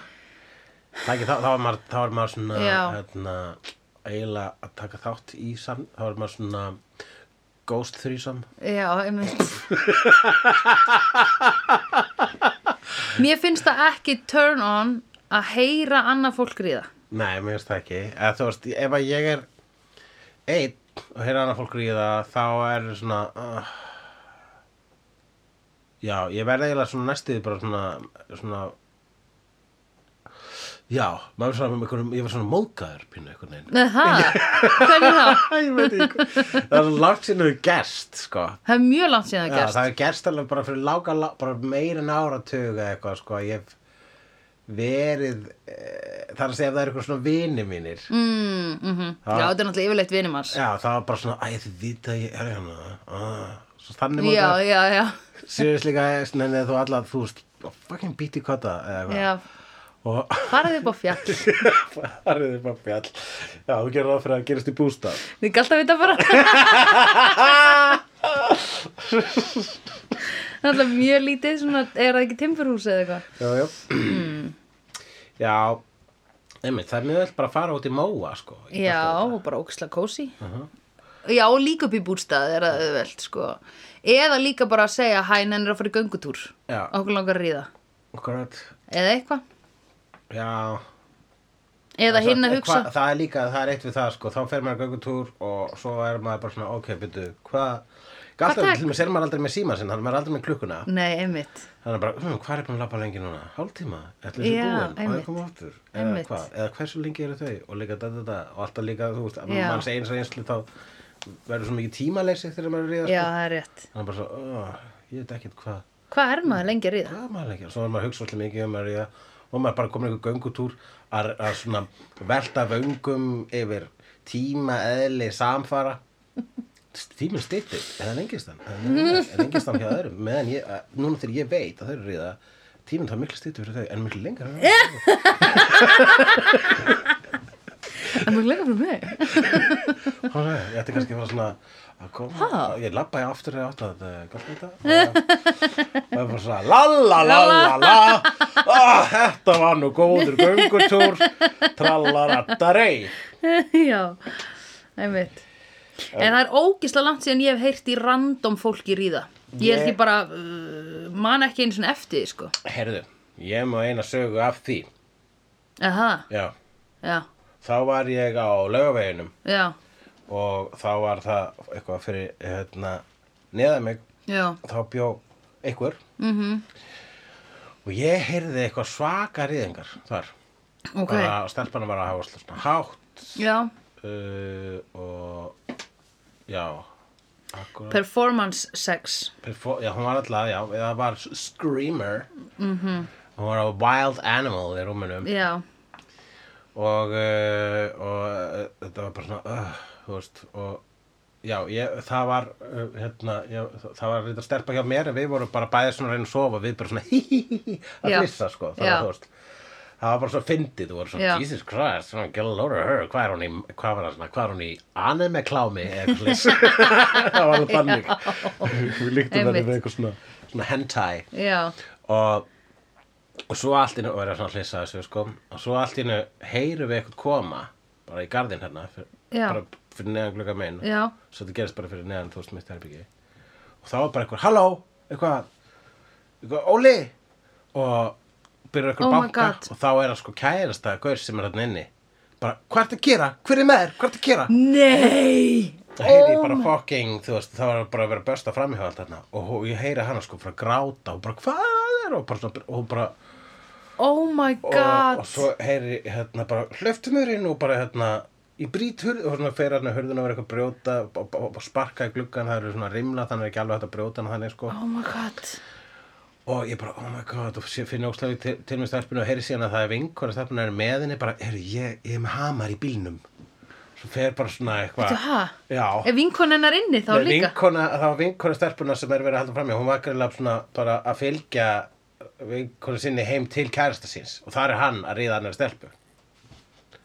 Speaker 2: Það ekki, þá, þá, er maður, þá er maður svona,
Speaker 1: Já.
Speaker 2: hérna, eiginlega að taka þátt í sam, þá er maður svona ghost þrísam.
Speaker 1: Já,
Speaker 2: [laughs]
Speaker 1: einmitt. Mér finnst það ekki turn on að heyra annað fólk ríða.
Speaker 2: Nei, mér finnst það ekki. Eða, þú veist, ef að ég er einn og heyra annað fólk ríða, þá er svona... Uh, já, ég verð eiginlega svona næstuði bara svona... svona já, maður er svona með einhverjum... Ég var svona móðgæður pínu einhvern veginn.
Speaker 1: Nei, það, hvernig þá?
Speaker 2: Æ, ég veit ekki. hvað- það er svo langt sinni við gerst, sko.
Speaker 1: Það er mjög langt síðan
Speaker 2: Já,
Speaker 1: það gerst.
Speaker 2: það er gerst alveg bara fyrir lága, lá- bara meira en áratug eða eitthvað, sko, ég hef verið, e, þar að segja ef það er eitthvað svona vini mínir,
Speaker 1: mm, mm
Speaker 2: Já.
Speaker 1: Já, þetta er náttúrulega yfirleitt vinum hans
Speaker 2: Já, það var bara svona, æ, þið vita að ég er hérna ah, Svo þannig
Speaker 1: Já,
Speaker 2: móta
Speaker 1: já, já,
Speaker 2: Sérðis líka, eh, nennið þú alla, þú veist "Oh, Fucking bíti kotta eða
Speaker 1: já.
Speaker 2: eitthvað
Speaker 1: Farðið upp á fjall
Speaker 2: Og [laughs] farið upp á fjall Já, þú gerir það fyrir að gerast í bústaf
Speaker 1: Þið galt að vita
Speaker 2: [laughs]
Speaker 1: bara Það er alltaf mjög lítið svona, Er það ekki timburhús eða eitthvað
Speaker 2: Já, já
Speaker 1: Mm.
Speaker 2: Já, einmitt, það er mjög vel bara að fara út í móa, sko í
Speaker 1: Já,
Speaker 2: kjaftaðið.
Speaker 1: og bara óksla kósi Já, og líka upp í bústað er það auðvelt sko. Eða líka bara að segja Hæ, nennir að fara í göngutúr
Speaker 2: Já.
Speaker 1: Okkur langar að ríða
Speaker 2: Akkurat,
Speaker 1: Eða eitthvað
Speaker 2: já
Speaker 1: Eða
Speaker 2: Það-
Speaker 1: hinn að
Speaker 2: hva-
Speaker 1: hugsa
Speaker 2: það er líka, það er eitt við það sko þá fer maður göngutúr og svo er maður bara svona ok, byrju, hvað
Speaker 1: tek-
Speaker 2: alltaf, til og með sér maður aldrei með síma sinn, þannig að maður er aldrei með klukkuna
Speaker 1: Nei, einmitt
Speaker 2: þannig að bara, hm, hvað er ég búin að lappa lengi núna hálftíma, ætla þessi
Speaker 1: Já,
Speaker 2: búin og
Speaker 1: einmitt.
Speaker 2: ég koma áttur, eða
Speaker 1: Einmitt.
Speaker 2: hvað eða hversu lengi eru þau, og líka da, da, da og alltaf líka, þú veist, að
Speaker 1: Já.
Speaker 2: mann segir eins og einslu þá verður svo mikið tímaleysi þegar maður er að
Speaker 1: Já,
Speaker 2: ríða,
Speaker 1: það er rétt
Speaker 2: sko þannig að bara svo, "Ugh, ég veit ekkert hvað
Speaker 1: Hvað er maður lengi að ríða?
Speaker 2: hvað maður lengi, svo er maður að hugsa alltaf mikið um að ríða og og maður bara komin einhver göngutúr að, að svona velta vöngum yfir tíma eðli samfara tíminn styttir, en það er engistan en engistan hjá öðrum meðan ég, að, núna þegar ég veit að þau eru ríða tíminn þá miklu styttir fyrir þau en miklu lengra fyrir mig.
Speaker 1: En maður leika fyrir mig.
Speaker 2: Hvað er það? ég ætti kannski að fara svona að koma,
Speaker 1: Ha?
Speaker 2: ég labba í aftur eða átt að þetta er gott þetta og það er bara svona la la la la la Ah, þetta var nú góður göngutúr trallaradarei
Speaker 1: [laughs] Já, einmitt. En það er ógislega langt síðan ég hef heyrt í random fólki ríða. Ég held
Speaker 2: Ég-
Speaker 1: ég bara, uh, man ekki einu svona eftir, því, sko.
Speaker 2: Herðu, ég má eina sögu af því.
Speaker 1: Aha,
Speaker 2: Já,
Speaker 1: já,
Speaker 2: þá var ég á laugaveginum
Speaker 1: já,
Speaker 2: og þá var það eitthvað fyrir hérna, neða mig,
Speaker 1: já,
Speaker 2: þá bjó einhver Mhm. -hmm. og ég heyrði eitthvað svaka rýðingar þar.
Speaker 1: ok,
Speaker 2: Bara stelpana var að hafa svona hátt
Speaker 1: já.
Speaker 2: uh, og já, akkurat.
Speaker 1: Performance sex.
Speaker 2: Perfo já, hún var alltaf, já, það var Screamer. Mm -hmm. Hún var á Wild Animal í rúminum.
Speaker 1: Já,
Speaker 2: og, uh, og uh, þetta var bara svona uh, þú veist og já, ég, það var uh, hérna, ég, það- það var reynda stelpa hjá mér en við vorum bara bæðið svona að reyna að sofa við bara svona [laughs] híhíhí að
Speaker 1: Já.
Speaker 2: flissa sko það,
Speaker 1: Já.
Speaker 2: var, þú veist, það var bara svo fyndið þú voru svona
Speaker 1: Já.
Speaker 2: Jesus Christ, svona, get a load of her hvað er hún í, hvað var það svona, hvað er hún í anime klámi eða eitthvað leys [laughs] það var alveg bannig við líktum
Speaker 1: Einmitt.
Speaker 2: þetta við eitthvað svona, svona hentai
Speaker 1: já,
Speaker 2: og, og svo allt innu og er að svona hlissa þessu sko og svo allt innu heyrum við eitthvað koma bara í garðin hérna fyr,
Speaker 1: Já.
Speaker 2: bara fyrir neðan glugga minn
Speaker 1: já,
Speaker 2: svo þetta gerist bara fyrir neðan þú veist mitt herbyggi og þá var bara eitthvað halló eitthvað, eitthvað Óli og byrjar eitthvað
Speaker 1: Oh my
Speaker 2: banka
Speaker 1: God.
Speaker 2: og þá er það sko kærasta gaur sem er hérna inni bara hvað ertu að gera, hver er með þér, hvað ertu að gera
Speaker 1: Nei!
Speaker 2: Það heyri ég
Speaker 1: Oh
Speaker 2: bara
Speaker 1: my-
Speaker 2: fucking, þú veist, það var bara að vera besta framhjóðald þarna og hó- ég heyri hana sko fyrir að gráta og bara hvað er og bara, svona- og hún bara
Speaker 1: Oh my
Speaker 2: og,
Speaker 1: god!
Speaker 2: og svo heyri hérna bara hlöftum hurinn og bara hérna ég brýt hurð og svona fer hérna hurðin að vera eitthvað að brjóta og, og, og, og sparka í gluggan, það eru svona rimla þannig er ekki alveg hægt að brjóta hana þannig sko
Speaker 1: Oh my god!
Speaker 2: og ég bara, oh my god, og sé- finn óslega til, til mér stelpinu og heyri síðan að það er vinkur að stelpinu er með henni, bara, heyrðu, ég, ég er með hamar í bílnum svo fer bara svona
Speaker 1: Þú
Speaker 2: eitthvað
Speaker 1: ha?
Speaker 2: Já.
Speaker 1: Er vinkonennar inni þá
Speaker 2: Nei,
Speaker 1: líka?
Speaker 2: vinkona, það var vinkona stelpuna sem er verið að halda framjá, hún var greiðlega svona bara að fylgja vinkona sinni heim til kærasta síns og þar er hann að ríða annar stelpu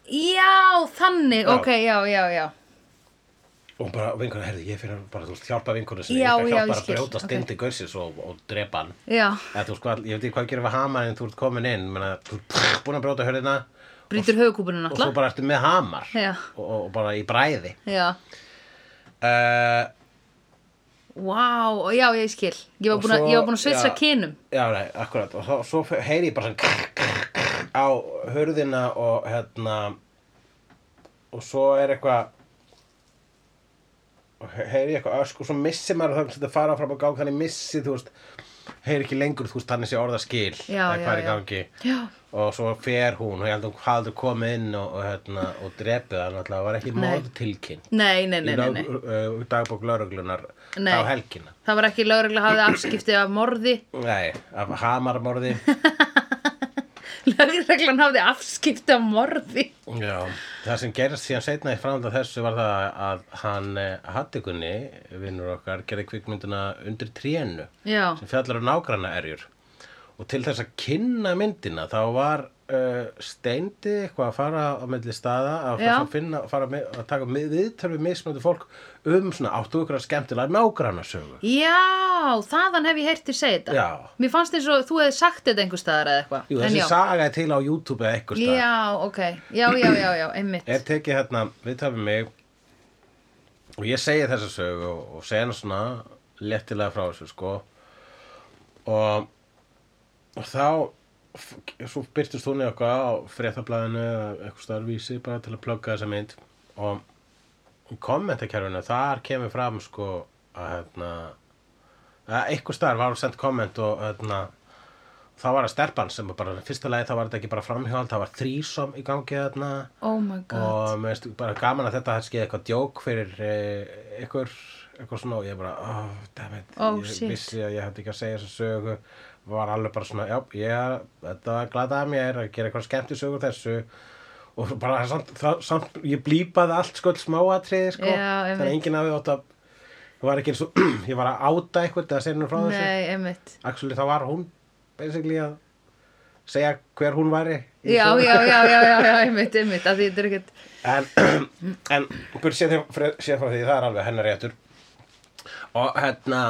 Speaker 1: Já, þannig,
Speaker 2: Já.
Speaker 1: ok, já, já, já.
Speaker 2: og bara vinkona, herði, ég fyrir bara þú veist, hjálpa vinkona sinni,
Speaker 1: Já,
Speaker 2: ég
Speaker 1: já,
Speaker 2: skal
Speaker 1: ég
Speaker 2: hjálpa
Speaker 1: skil,
Speaker 2: að brjóta
Speaker 1: ok.
Speaker 2: stindi gaussins og, og drepa hann
Speaker 1: Já,
Speaker 2: eða þú veist hvað, ég veit ekki hvað gerir við hamar en þú ert komin inn, menna, þú ert búin að brjóta hörðina
Speaker 1: brýtur höfukúpunum
Speaker 2: og svo
Speaker 1: náttúrulega.
Speaker 2: bara ertu með hamar
Speaker 1: Já.
Speaker 2: og, og bara í bræði
Speaker 1: Já,
Speaker 2: uh,
Speaker 1: vá, wow. já, ég skil. Ég var
Speaker 2: Og
Speaker 1: búin að,
Speaker 2: svo-
Speaker 1: ég var búin að svitsa
Speaker 2: já.
Speaker 1: kynum.
Speaker 2: Já, nei, akkurat og þá- svo fe- heyri ég bara svona krr, krr, krr, á hurðina og hérna og svo er eitthvað og he- heyri ég eitthvað ösku og svo missi maður það sem þetta fara fram á gang þannig missi, þú veist heyri ekki lengur, þú veist, þannig sé orðaskil eða
Speaker 1: Já, já,
Speaker 2: hvað er í
Speaker 1: já.
Speaker 2: gangi
Speaker 1: Já,
Speaker 2: og svo fer hún og ég held að hún hafði komið inn og, og, hérna, og drepið hann alltaf, það var ekki
Speaker 1: Nei.
Speaker 2: morð tilkynnt
Speaker 1: nei, nei, nei,
Speaker 2: í lög,
Speaker 1: nei, nei.
Speaker 2: uh, dagbók lauruglunar
Speaker 1: Nei.
Speaker 2: á helgina
Speaker 1: Það var ekki lögreglega hafið afskipti af morði. [laughs]
Speaker 2: Nei, af hamarmorði
Speaker 1: Lögreglan hafði afskipti af morði.
Speaker 2: Já, það sem gerist síðan setna í framönda þessu var það að hann Hattikunni, vinnur okkar, gerði kvikmyndina undir trénu
Speaker 1: Já,
Speaker 2: sem fjallar um nágranna erjur og til þess að kynna myndina þá var uh, steindi eitthvað að fara á milli staða að,
Speaker 1: Já.
Speaker 2: að, finna, fara með, að taka með, viðtölu mismöndu fólk um svona áttu ykkur að skemmtilega nágrannasögu
Speaker 1: já, þaðan hef ég heyrt þér segja þetta.
Speaker 2: Já.
Speaker 1: Mér fannst eins og þú hefði sagt þetta einhver staðar eða eitthvað.
Speaker 2: Jú,
Speaker 1: En
Speaker 2: þessi
Speaker 1: já.
Speaker 2: saga er til á YouTube eða eitthvað staðar.
Speaker 1: Já, ok, já, já, já, já, einmitt
Speaker 2: er tekið hérna viðtafið mig og ég segi þessa sögu og, og segi hana svona lettilega frá þessu sko og, og þá f- svo byrtist hún í okkar á fréttablaðinu eða eitthvað starfvísi bara til að plugga þessa mynd og í kommentakerfinu þar kemur fram sko að hérna að eitthvað starf var sendt komment og hérna það var að stelpan sem bara fyrsta leið þá var þetta ekki bara framhjóðald það var þrísom í gangi hérna. þarna
Speaker 1: Oh my god
Speaker 2: og mér finnst bara gaman að þetta hafi skeið eitthvað djók fyrir eh, ykkur eitthvað svona og ég bara, oh, damn it
Speaker 1: Oh,
Speaker 2: ég
Speaker 1: shit.
Speaker 2: vissi að ég hætti ekki að segja þessa sögu var alveg bara svona, já, ég þetta var glada að mér að gera eitthvað skemmti sögu þessu og bara samt, það, samt ég blípaði allt sko smáatriði sko,
Speaker 1: Já, einmitt.
Speaker 2: þannig að enginn hafi átt að það var ekki eins og [clears throat] ég var að áta eitthvað eða segja henni frá þessu
Speaker 1: Nei, einmitt
Speaker 2: actually þá var hún basically að segja hver hún væri í
Speaker 1: Já,
Speaker 2: sögu.
Speaker 1: já, já, já, já, já, einmitt, einmitt af Því þetta er ekkert
Speaker 2: en, [clears throat] en burt séð þeim- fre- séð frá því það er alveg hennar réttur og hérna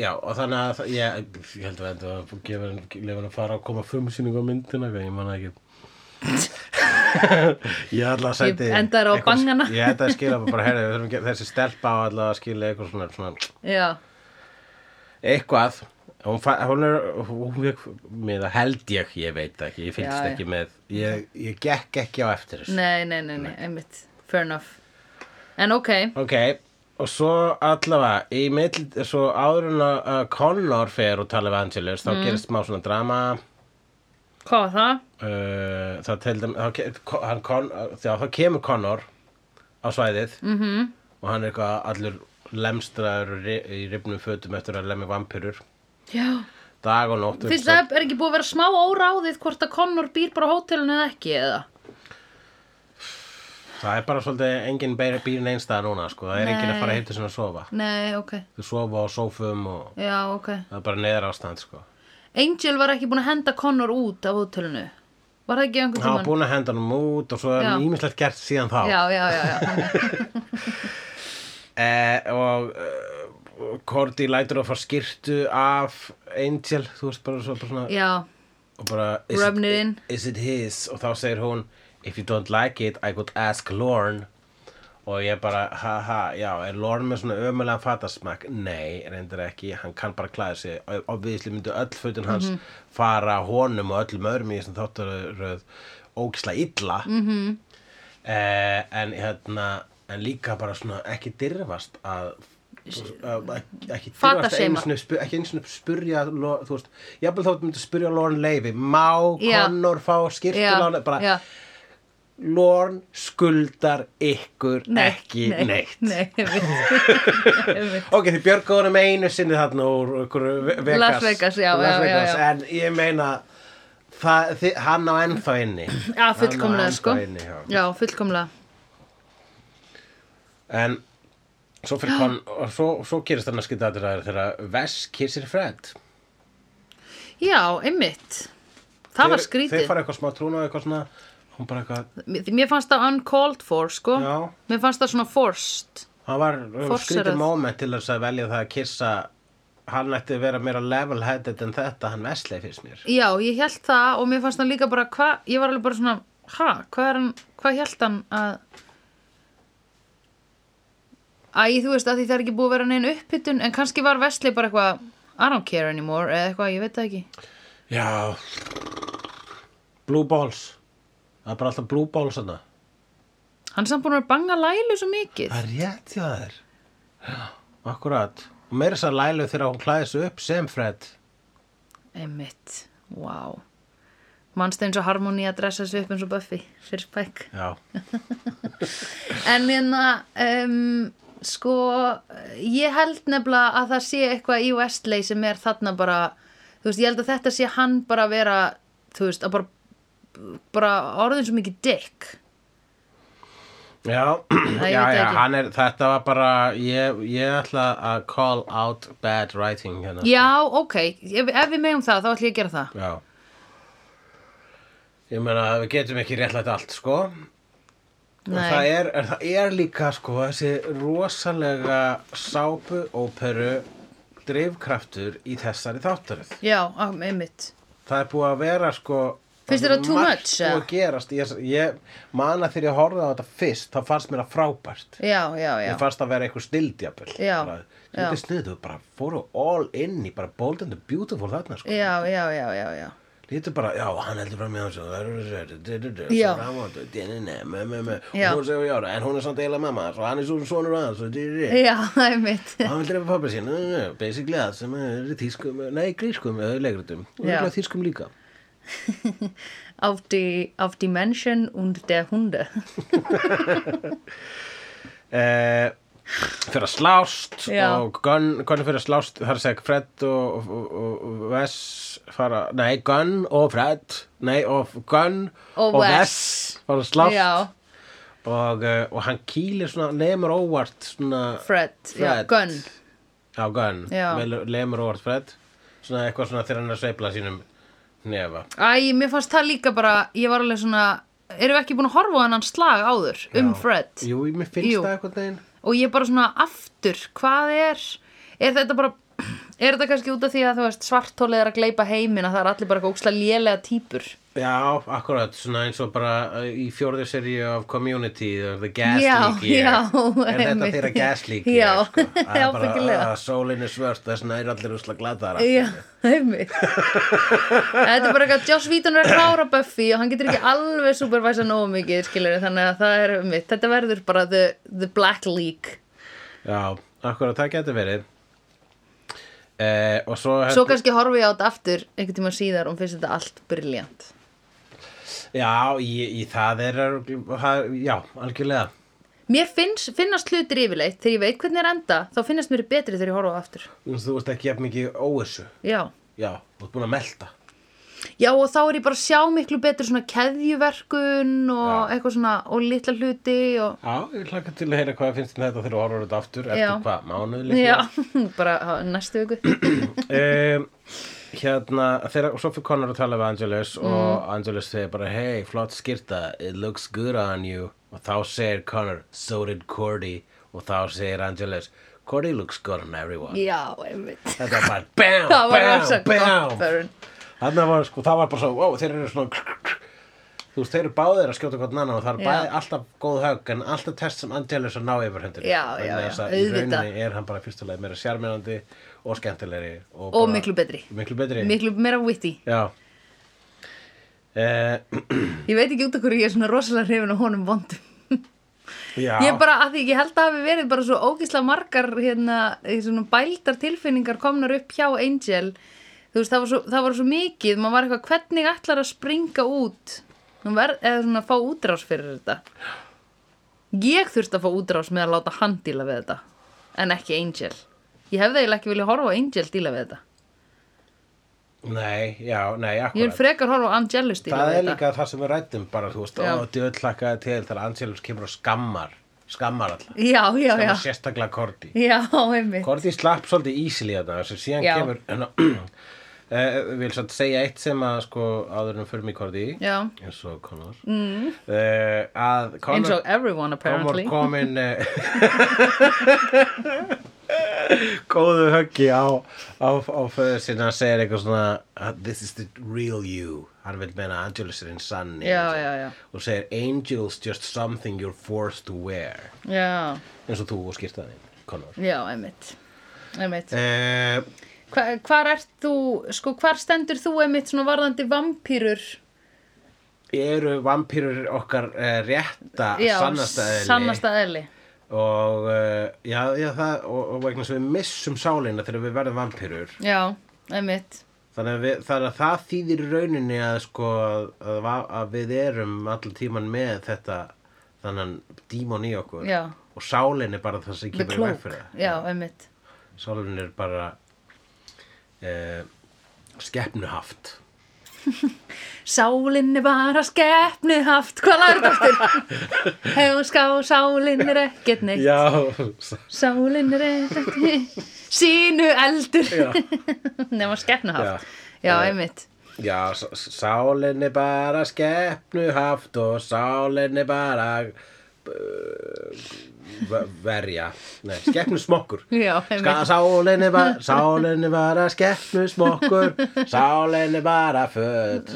Speaker 2: já og þannig að það- ég, ég held að þetta var að gefa henni- leyfa henni að fara að koma frumsýning á myndina eitthvað, ég manna ekki [laughs] ég ætla að
Speaker 1: Ég
Speaker 2: sæti
Speaker 1: endaði á
Speaker 2: eitthvað-
Speaker 1: bangana.
Speaker 2: ég ætla að skila bara herri, við þurfum að gera- þessi stelpa á alltaf að skila eitthvað svona, svona
Speaker 1: Já,
Speaker 2: eitthvað hún, fa- hún er hún vek með að held ég, ég veit það ekki ég fylgst
Speaker 1: Já, já.
Speaker 2: ekki með ég, ég gekk ekki á eftir þessu
Speaker 1: nei, nei, nei, nei, einmitt Fair enough En ok,
Speaker 2: ok, og svo allavega í mill, svo áður en að uh, Connor fer og tala við Angelus þá
Speaker 1: Mm.
Speaker 2: gerist smá svona drama
Speaker 1: hvað var það?
Speaker 2: uh, það til dæmis þá, ke- Con- hann, Con, já, þá kemur Connor á svæðið
Speaker 1: Mhm.
Speaker 2: -hmm. og hann er eitthvað allur lemstraður og ri- í rifnum fötum eftir að lemja vampirur
Speaker 1: Já
Speaker 2: dag og nótt
Speaker 1: Fyrst það er ekki búið að vera smá óráðið hvort að Connor býr bara á hótelinu eða ekki eða?
Speaker 2: Það er bara svolítið enginn beir býr neinstæða núna sko, það er enginn að
Speaker 1: Nei.
Speaker 2: fara að heita sinna að sofa.
Speaker 1: Nei, ok,
Speaker 2: Þau sofa á sófum og
Speaker 1: já, ok
Speaker 2: það er bara neðar ástand sko.
Speaker 1: Angel var ekki búin að henda Connor út af hótelinu Var það ekki einhvern
Speaker 2: Það var
Speaker 1: tímann?
Speaker 2: búin að henda hann út og svo er
Speaker 1: Já.
Speaker 2: hann ímislegt gert síðan þá.
Speaker 1: Já, já, já,
Speaker 2: [laughs]
Speaker 1: já,
Speaker 2: Eh, og eh, og Cordy lætur að fá skyrtu af Angel, þú veist bara, svo, bara svona,
Speaker 1: já,
Speaker 2: og bara,
Speaker 1: Rubbing it in.
Speaker 2: it, is it his? Og þá segir hún, if you don't like it, I could ask Lorne. Og ég bara, ha ha, já, er Lorne með svona ömulegan fatasmakk? Nei, reyndar ekki, hann kann bara klæða sig. Og Obviously myndu öll fötin hans fara honum og öllum öðrum í þessum þáttaröð ógisla illa. Mm -hmm. en hérna, en líka bara svona ekki dyrfast að að- að- ekki dyrfast
Speaker 1: Fataseima.
Speaker 2: einu sinni spu- ekki einu sinni spurja Lo- þú veist, jafnvel þótt myndu spurja Lorne Leifi má
Speaker 1: Já.
Speaker 2: Connor fá
Speaker 1: já,
Speaker 2: skýrtun bara
Speaker 1: já.
Speaker 2: Lorne skuldar ykkur ekki neitt
Speaker 1: Nei, einmitt, [laughs] einmitt.
Speaker 2: ok, þið björgum honum einu sinni þarna úr ykkur Vegas,
Speaker 1: Las Vegas, já,
Speaker 2: Las
Speaker 1: já,
Speaker 2: Vegas
Speaker 1: já, já.
Speaker 2: en ég meina það, þið, hann á ennþá inni
Speaker 1: [clears throat] Já,
Speaker 2: Hann á
Speaker 1: fullkomlega
Speaker 2: ennþá
Speaker 1: sko
Speaker 2: inni, já.
Speaker 1: Já, fullkomlega
Speaker 2: en svo fyrir kon og svo, svo gerist þannig að skita að þetta þegar Vess kissir Fred
Speaker 1: Já, einmitt Það var
Speaker 2: Þeir-
Speaker 1: skrítið
Speaker 2: þeir fara eitthvað smá trúna og eitthvað svona hún bara eitthvað,
Speaker 1: Mér mér fannst það uncalled for, sko
Speaker 2: já
Speaker 1: Mér fannst það svona forced
Speaker 2: það var
Speaker 1: Forserað.
Speaker 2: skrítið moment til þess að velja það að kissa hann ætti að vera meira level-headed en þetta hann Vesley fyrst mér
Speaker 1: Já, ég held það og mér fannst það líka bara hva, Ég var alveg bara svona, ha, hvað er hann Hvað held hann að Æ, þú veist að því það er ekki búið að vera neinn uppbytun En kannski var Vesli bara eitthvað I don't care anymore, eða eitthvað, ég veit það ekki
Speaker 2: já blue balls það er bara alltaf blue balls þarna
Speaker 1: Hann er samt búin að vera að banga lælu svo mikið
Speaker 2: það er rétt hjá þér já, akkurat og meira þess að lælu þegar hún klæði sig upp sem Fred
Speaker 1: Einmitt, wow Manst eins og Harmony að dressa sig upp eins og Buffy Fyrir Spike
Speaker 2: já,
Speaker 1: En hérna, um, sko, ég held nefnilega að það sé eitthvað í Westley sem er þarna bara, þú veist, ég held að þetta sé hann bara að vera, þú veist, að bara, bara orðin svo mikið dick.
Speaker 2: Já,
Speaker 1: ég
Speaker 2: já,
Speaker 1: veit
Speaker 2: já,
Speaker 1: ekki.
Speaker 2: hann er, þetta var bara, ég, ég ætla að call out bad writing hérna.
Speaker 1: Já, ok, ef, ef við megum það, þá ætlum ég að gera það.
Speaker 2: Já. Ég meina, við getum ekki réttlætt allt, sko. Og
Speaker 1: Nei.
Speaker 2: það er, er, það er líka, sko, þessi rosalega sápuóperu drifkraftur í þessari þáttaröð.
Speaker 1: Já, á, einmitt.
Speaker 2: Það er búið að vera, sko,
Speaker 1: Finnst þér það too
Speaker 2: margt
Speaker 1: much,
Speaker 2: búið
Speaker 1: eða?
Speaker 2: að gerast. í þess- Ég man að þegar ég horfði á þetta fyrst, þá fannst mér það frábært.
Speaker 1: Já, já, já.
Speaker 2: Mér fannst það vera eitthvað snildjapel
Speaker 1: Já,
Speaker 2: Þú veitir sniðu, þau bara fóru all inni bara bold and the beautiful þarna sko.
Speaker 1: Já, já, já, já, já.
Speaker 2: Lítur bara, já, hann heldur fram í hans og það eru sér, dyrurur,
Speaker 1: Já.
Speaker 2: svo fram á þetta, dyrurur, með, með, með
Speaker 1: Já.
Speaker 2: og hún segir, já, en hún er samt eiginlega mamma hans og hann er svo sonur hans og dyrurur
Speaker 1: Já, [laughs] einmitt.
Speaker 2: og hann vil drefa pappa sín, eh, basically að sem er í tískum, nei, grískum eh, leikritum og
Speaker 1: Já.
Speaker 2: líka tískum líka
Speaker 1: Auf die, auf die Menschen und der Hunde.
Speaker 2: eh, fyrir að slást
Speaker 1: Já.
Speaker 2: og Gunn, Gunn fyrir að slást þar að segja Fred og, og, og, og Vess fara, nei Gunn og Fred nei og Gunn
Speaker 1: Og Wes.
Speaker 2: fara að slást
Speaker 1: Já,
Speaker 2: og, eh, og hann kýlir svona lemur óvart svona
Speaker 1: Fred, já,
Speaker 2: Fred.
Speaker 1: Gunn
Speaker 2: Já, Gunn,
Speaker 1: Já.
Speaker 2: Vel- lemur óvart Fred svona eitthvað svona þegar hann er að sveifla sínum nefa
Speaker 1: Æ, mér fannst það líka bara, ég var alveg svona erum við ekki búin að horfa á hennan slag áður um
Speaker 2: Já.
Speaker 1: Fred
Speaker 2: Jú, mér finnst
Speaker 1: Jú.
Speaker 2: það eitthvað neginn
Speaker 1: og ég bara svona aftur, hvað er er þetta bara er þetta kannski út af því að þú veist svartólið er að gleypa heiminn að það er allir bara eitthvað ókslega lélega týpur
Speaker 2: Já, akkurat, svona eins og bara uh, í fjórðu seríu af Community það er það
Speaker 1: Já,
Speaker 2: gaslíki
Speaker 1: já,
Speaker 2: er þetta
Speaker 1: einmitt.
Speaker 2: þeirra gaslíki
Speaker 1: Já, [laughs]
Speaker 2: sko? Það er bara
Speaker 1: ábyggilega.
Speaker 2: að sólin er svört þess vegna er allir usla gladara
Speaker 1: Já, heimi [laughs] Þetta er bara eitthvað Joss Víton er að klára Buffy og hann getur ekki alveg supervæsa nógu mikið skilur þannig að það er mitt þetta verður bara the, the Black League
Speaker 2: Já, akkurat, það getur verið eh, Og svo,
Speaker 1: Svo kannski horfi ég á þetta aftur einhvern tíma síðar og finnst þetta allt briljant
Speaker 2: Já, í, í það er það, Já, algjörlega
Speaker 1: Mér finnst, finnast hlutir yfirleitt þegar ég veit hvernig er enda þá finnast mér betri þegar ég horfa á aftur
Speaker 2: Þú veist, þú veist ekki jafn mikið óvissu
Speaker 1: Já
Speaker 2: Já, þú ert búin að melta
Speaker 1: Já og þá er ég bara að sjá miklu betur svona keðjuverkun og
Speaker 2: Já.
Speaker 1: eitthvað svona og litla hluti og
Speaker 2: Já, ég hlaka til að heyra hvað finnst þér um þetta þegar þú horfur þetta aftur eftir
Speaker 1: Já.
Speaker 2: hvað, mánuð líka [laughs]
Speaker 1: Já, [laughs] bara á næstu viku
Speaker 2: um, hérna þeirra, og svo fyrir Connor að tala við Angelus
Speaker 1: Mm.
Speaker 2: og Angelus segir bara hey, flott skyrta, it looks good on you og þá segir Connor, so did Cordy og þá segir Angelus Cordy looks good on everyone
Speaker 1: Já, einmitt
Speaker 2: þetta var bara bam,
Speaker 1: [laughs] Það var rosa
Speaker 2: bam,
Speaker 1: gott
Speaker 2: bam
Speaker 1: Börn.
Speaker 2: þarna var sko, það var bara svo, wow, þeir eru svona þú veist, þeir eru báðir að skjóta hvort annan og það er
Speaker 1: Já.
Speaker 2: bæði alltaf góð högg en alltaf test sem Angelus að ná yfir hendur
Speaker 1: Já, já, já,
Speaker 2: í
Speaker 1: auðvitað.
Speaker 2: rauninni er hann bara fyrstulega meira sjarmirandi og skemmtilegri og,
Speaker 1: Og
Speaker 2: bara-
Speaker 1: miklu betri.
Speaker 2: miklu betri
Speaker 1: Miklu meira witty
Speaker 2: Já eh, [clears throat]
Speaker 1: Ég veit ekki út af hverju ég er svona rosalega hrifin á honum vondum
Speaker 2: Já,
Speaker 1: Ég bara, að því ég held að hafi verið bara svo ógísla margar hérna, í svona bældar tilfinningar komnar upp hjá Angel Þú veist, það var svo, það var svo mikið maður var eitthvað, hvernig ætlar að springa út Hún verð, eða svona fá útrás fyrir þetta Ég þurfti að fá útrás með að láta hann díla við þetta en ekki Angel Ég hefði eiginlega ekki vilja horfa á Angel díla við þetta
Speaker 2: nei, já, nei,
Speaker 1: Ég vil
Speaker 2: akkurat
Speaker 1: frekar horfa á Angelus díla
Speaker 2: Það
Speaker 1: við
Speaker 2: er
Speaker 1: þetta
Speaker 2: líka það sem við rættum bara, þú veist,
Speaker 1: Já.
Speaker 2: ó, djöð hlakaði til þegar Angelus kemur og skammar skammar alltaf,
Speaker 1: Já, já,
Speaker 2: skammar
Speaker 1: já
Speaker 2: sérstaklega Korti
Speaker 1: Já, einmitt
Speaker 2: Korti slapp svolítið ísili þarna þessu síðan
Speaker 1: Já.
Speaker 2: kemur hérna, [clears throat] eh, vil svo segja eitt sem að sko áður en fyrir mig Korti
Speaker 1: Já.
Speaker 2: eins og Connor mm. eh, að
Speaker 1: eins
Speaker 2: Connor
Speaker 1: og everyone
Speaker 2: Connor
Speaker 1: apparently
Speaker 2: komin eh, [laughs] góðu höggi á, á, á föður sinna hann segir eitthvað svona "Ah, this is the real you hann vil meina Angelus er hinn sanni
Speaker 1: Já, já, já.
Speaker 2: og segir Angel's just something you're forced to wear
Speaker 1: já,
Speaker 2: eins og þú og skýrtaðin Connor
Speaker 1: já, einmitt einmitt
Speaker 2: eh,
Speaker 1: Hva, hvar ert þú, sko hvar stendur þú einmitt svona varðandi vampýrur
Speaker 2: eru vampýrur okkar eh, rétta sannastæðinni
Speaker 1: sannastæðli
Speaker 2: og, eh, já, já, það, og, og vegna sem við missum sálina þegar við verðum vampýrur
Speaker 1: já, einmitt
Speaker 2: Þannig að, við, þannig að það þýðir í rauninni að, sko, að, að, va- að við erum allan tíman með þetta þannan dímon í okkur
Speaker 1: Já.
Speaker 2: og sálin er bara það sem
Speaker 1: the
Speaker 2: kemur í veg
Speaker 1: cloak,
Speaker 2: fyrir það.
Speaker 1: já, einmitt
Speaker 2: Sálin er bara eh, skeppnuhaft.
Speaker 1: Sálinn er bara skepnu haft Hvað lagur þetta aftur?
Speaker 2: [laughs]
Speaker 1: Hefum ská, sálinn er ekkert neitt
Speaker 2: Já, [laughs]
Speaker 1: Sálinn er ekkert neitt Sínu eldur [laughs]
Speaker 2: Já.
Speaker 1: Nefna skepnu haft
Speaker 2: Já.
Speaker 1: Já,
Speaker 2: Eh,
Speaker 1: einmitt
Speaker 2: já s- s- sálin er bara skeppnuhaft og sálin er bara uh, verja. Nei, skeppnusmokkur.
Speaker 1: Já,
Speaker 2: Ska,
Speaker 1: einmitt
Speaker 2: sálinni, var, sálinni bara skeppnu smokkur Sálinni bara föt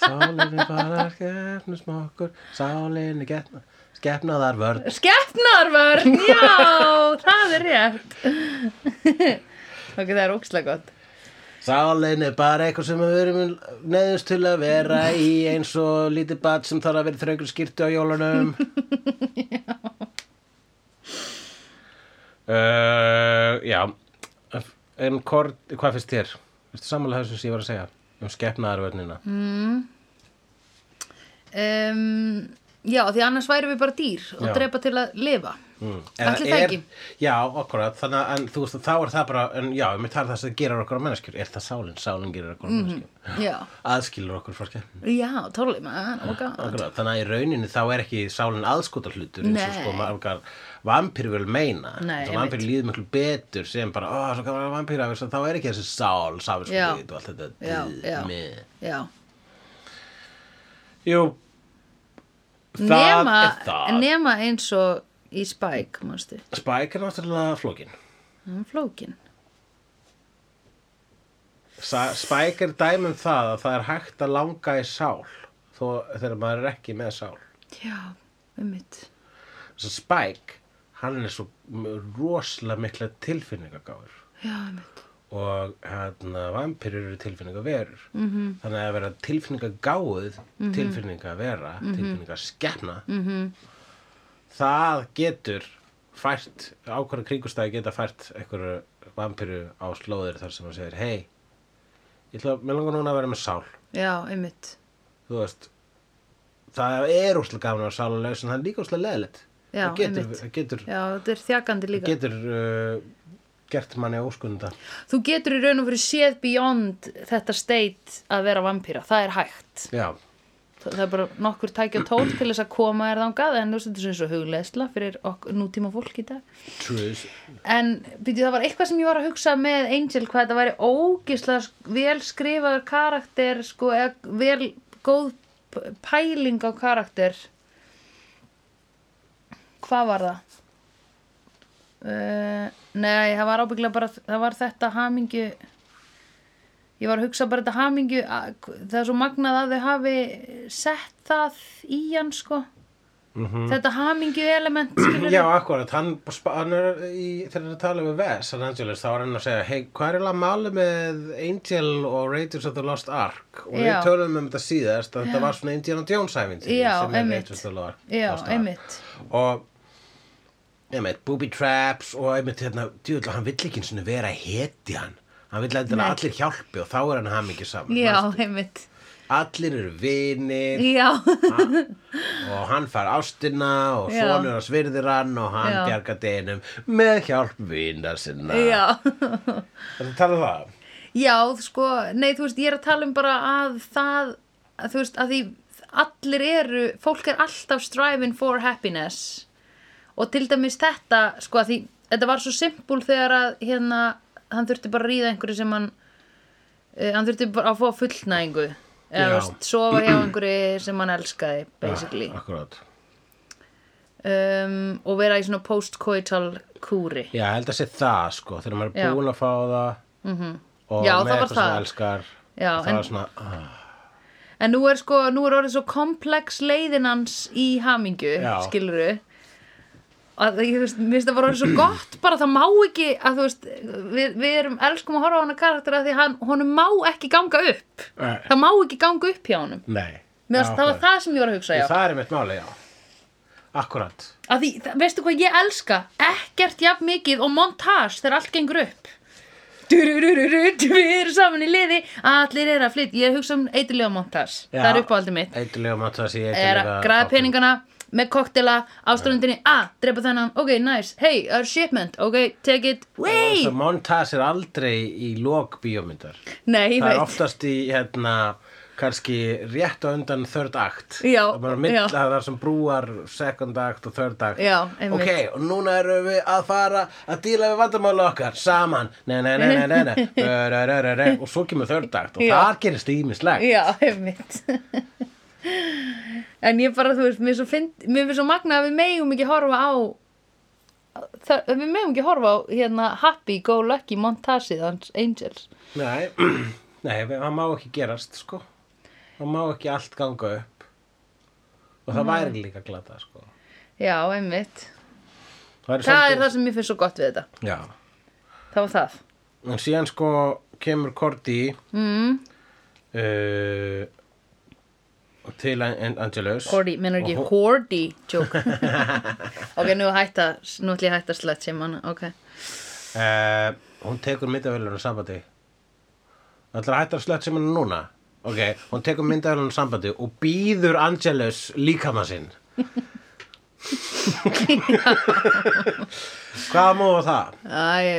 Speaker 2: Sálinni bara skeppnu smokkur Sálinni getna Skeppnaðar vörn
Speaker 1: Skeppnarvörn, [laughs] já, það er rétt. ok, það er ókslega gott.
Speaker 2: Sálin er bara eitthvað sem við erum neðust til að vera í eins og lítið bat sem þarf að vera í þröngur skýrtu á
Speaker 1: [laughs]
Speaker 2: jólunum. uh, já, en Kort, hvað finnst þér? Vistu sammála þessu sem ég var að segja um skeppnaðarvörnina? Mm.
Speaker 1: um, já, því annars væri við bara dýr og
Speaker 2: Já.
Speaker 1: drepa til að lifa
Speaker 2: Mm. Eða
Speaker 1: Ætli það
Speaker 2: er-
Speaker 1: ekki?
Speaker 2: Já, akkurat, þannig að en, þú veist að þá er það bara, en já, ég með tala það sem gerir okkur á menneskjur, er það sálinn, sálinn gerir
Speaker 1: Mm.
Speaker 2: okkur á menneskjur,
Speaker 1: já,
Speaker 2: aðskilur okkur frá skemmtun.
Speaker 1: já, totally man oh my god.
Speaker 2: Akkurat, þannig að í rauninni þá er ekki sálinn aðskota hlutur eins og
Speaker 1: Nei.
Speaker 2: sko margar vampýr vil meina,
Speaker 1: Nei,
Speaker 2: þess að vampýr líður miklu betur sem bara, ó, svo kannar vampýr af þess að þá er ekki þessi sál,
Speaker 1: Já.
Speaker 2: sáfinskulit og allt þetta.
Speaker 1: Já,
Speaker 2: dýð
Speaker 1: já.
Speaker 2: með.
Speaker 1: já
Speaker 2: Jú, það
Speaker 1: nema,
Speaker 2: er það.
Speaker 1: nema eins og í Spike, manstu
Speaker 2: Spike er náttúrulega flókin.
Speaker 1: hann er flókin
Speaker 2: Sa- Spike er dæmum það að það er hægt að langa í sál þó þegar maður er ekki með sál.
Speaker 1: já, ummitt
Speaker 2: Þess að Spike, hann er svo m- rosalega mikla tilfinningagáður
Speaker 1: já, ummitt
Speaker 2: og hérna vampirur eru tilfinningaverur. -hmm.
Speaker 1: Mhm.
Speaker 2: Þannig að vera tilfinningagáð, mm -hmm. tilfinningavera, mm -hmm. tilfinningaskepna,
Speaker 1: Mhm.
Speaker 2: það getur fært, ákvæða kringustæði geta fært einhverju vampiru á slóðir þar sem hann segir, hei, ég ætla, mér langar núna að vera með sál.
Speaker 1: já, ummitt
Speaker 2: þú veist það er úrslega gaman að sála laus en það er líka úrslega leðilegt
Speaker 1: Já,
Speaker 2: það getur,
Speaker 1: einmitt.
Speaker 2: það getur,
Speaker 1: já, þetta er þjakandi
Speaker 2: það
Speaker 1: líka
Speaker 2: getur uh, gert manni óskunda
Speaker 1: þú getur í raun og fyrir séð beyond þetta state að vera vampíra það er hægt
Speaker 2: já,
Speaker 1: Þa- það er bara nokkur tækja tól til þess að koma er þangað en þú veist þetta er eins og hugleðsla fyrir ok nútíma fólk í dag
Speaker 2: truth
Speaker 1: en byrju, það var eitthvað sem ég var að hugsa með Angel hvað þetta væri ógislega sk- vel skrifaður karakter sko, eða vel góð p- pæling á karakter hvað var það? Uh, nei, það var ábygglega bara það var þetta hamingju ég var að hugsa bara þetta hamingju að- það er svo magnað að þau hafi sett það í hann sko þetta hamingju element skilurðu.
Speaker 2: já, akkurat, hann, hann er í, þegar hann er að tala með Wes San Angeles, þá er hann að segja, hei, hvað er eiginlega máli með Angel og Raiders of the Lost Ark og
Speaker 1: Já.
Speaker 2: við tölum um þetta síðast að þetta var svona Indiana Jones æfinti
Speaker 1: Já,
Speaker 2: sem er
Speaker 1: einmitt.
Speaker 2: Raiders of the Lo- Lost Ark
Speaker 1: já, einmitt
Speaker 2: og einmitt, booby traps og einmitt hérna, djúðlega, hann vill ekki einu sinni vera hetjan, hann vill að
Speaker 1: Nei.
Speaker 2: allir hjálpi og þá er hann hamingi saman
Speaker 1: já, einmitt
Speaker 2: allir eru vinir
Speaker 1: já,
Speaker 2: Ah. og hann fær ástina og
Speaker 1: Já.
Speaker 2: sonur hans virðir hann og hann
Speaker 1: Já.
Speaker 2: bjargar deginum með hjálp vina sinna
Speaker 1: já
Speaker 2: þetta tala um það
Speaker 1: já, sko, nei, þú veist, ég er að tala um bara að það, að, þú veist, að því allir eru, fólk er alltaf striving for happiness og til dæmis þetta, sko, að því þetta var svo simpul þegar að hérna, hann þurfti bara að ríða einhverju sem hann uh, hann þurfti bara að fá fullnæðingu
Speaker 2: Já.
Speaker 1: eða,
Speaker 2: Ah.
Speaker 1: þú veist, sofa hjá einhverju sem hann elskaði, basically
Speaker 2: akkurat
Speaker 1: um, og vera í svona post-coital kúri
Speaker 2: já, ég held að sé það sko, þegar maður
Speaker 1: Já. Mhm.
Speaker 2: er búin að fá það -hmm. og
Speaker 1: Já,
Speaker 2: með
Speaker 1: það var
Speaker 2: eitthvað sem
Speaker 1: það.
Speaker 2: elskar
Speaker 1: Já,
Speaker 2: það
Speaker 1: en-
Speaker 2: var svona, ah,
Speaker 1: En nú er sko, nú er orðið svo komplex leiðin hans í hamingu,
Speaker 2: Já.
Speaker 1: skiluru að ég þú veist, mér finnst það bara orðið svo gott bara það má ekki að þú veist við, við erum elskum að horfa á hana karakter að því hann, honum má ekki ganga upp
Speaker 2: Nei.
Speaker 1: það má ekki ganga upp hjá honum
Speaker 2: eh, nei Já,
Speaker 1: Mér finnst það
Speaker 2: akkurat.
Speaker 1: var það sem ég var að hugsa,
Speaker 2: Já,
Speaker 1: já
Speaker 2: það er einmitt máli, já. Akkurat.
Speaker 1: að því, það, veistu hvað ég elska ekkert jafn mikið og montage þegar allt gengur upp Dururururu, við erum saman í liði allir eru að flytja, ég hugsa um eitulega montage, það er uppáhaldið mitt
Speaker 2: Eitulega matur að sé
Speaker 1: er að græða peningana með koktela á ströndinni a, drepa þennan, ok, nice, hey, our shipment ok, take it, way
Speaker 2: Svo montas er aldrei í lok bíómyndar.
Speaker 1: nei, ég
Speaker 2: Það er
Speaker 1: veit,
Speaker 2: oftast í, hérna, kannski rétt á undan third act.
Speaker 1: Já,
Speaker 2: Það er bara
Speaker 1: já.
Speaker 2: mill að það sem brúar second act og third act.
Speaker 1: Já, einmitt.
Speaker 2: Ok, og núna erum við að fara að díla við vandamála okkar saman. Nei, nei, nei, nei,
Speaker 1: [laughs]
Speaker 2: nei, nei. Rö, rö, rö, rö, rö. Og svo kemur third act og
Speaker 1: Já.
Speaker 2: þar gerist ímislegt.
Speaker 1: já, einmitt [laughs] en ég bara, þú veist mér er svo, find, mér er svo magna að við megum ekki horfa á það, við megum ekki horfa á hérna happy go lucky montasið hans Angels
Speaker 2: Nei, [clears throat] nei, það má ekki gerast, sko. Það má ekki allt ganga upp. Og það væri líka glata, sko.
Speaker 1: já, einmitt,
Speaker 2: Það,
Speaker 1: það er það sem mér finnst svo gott við þetta
Speaker 2: Já.
Speaker 1: það var það
Speaker 2: En síðan, sko, kemur Korti
Speaker 1: mm.
Speaker 2: uh, til An- Angelus.
Speaker 1: Hordy, mennur ekki
Speaker 2: Og hó-
Speaker 1: Hordy
Speaker 2: [laughs]
Speaker 1: joke ok, nú, hætta, nú ætlum ég að hætta slett sem hann, ok
Speaker 2: Eh, Uh, hún tekur mittavélunum sambandi. Það ætlar að hætta að slött sem hann núna. ok, hún tekur myndaðurinn sambandi og býður Angelus líkama sinn [laughs] hvað móða það?
Speaker 1: Æ,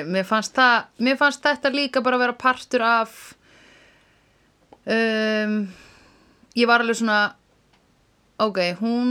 Speaker 1: mér fannst það, mér fannst þetta líka bara að vera partur af um, ég var alveg svona ok, hún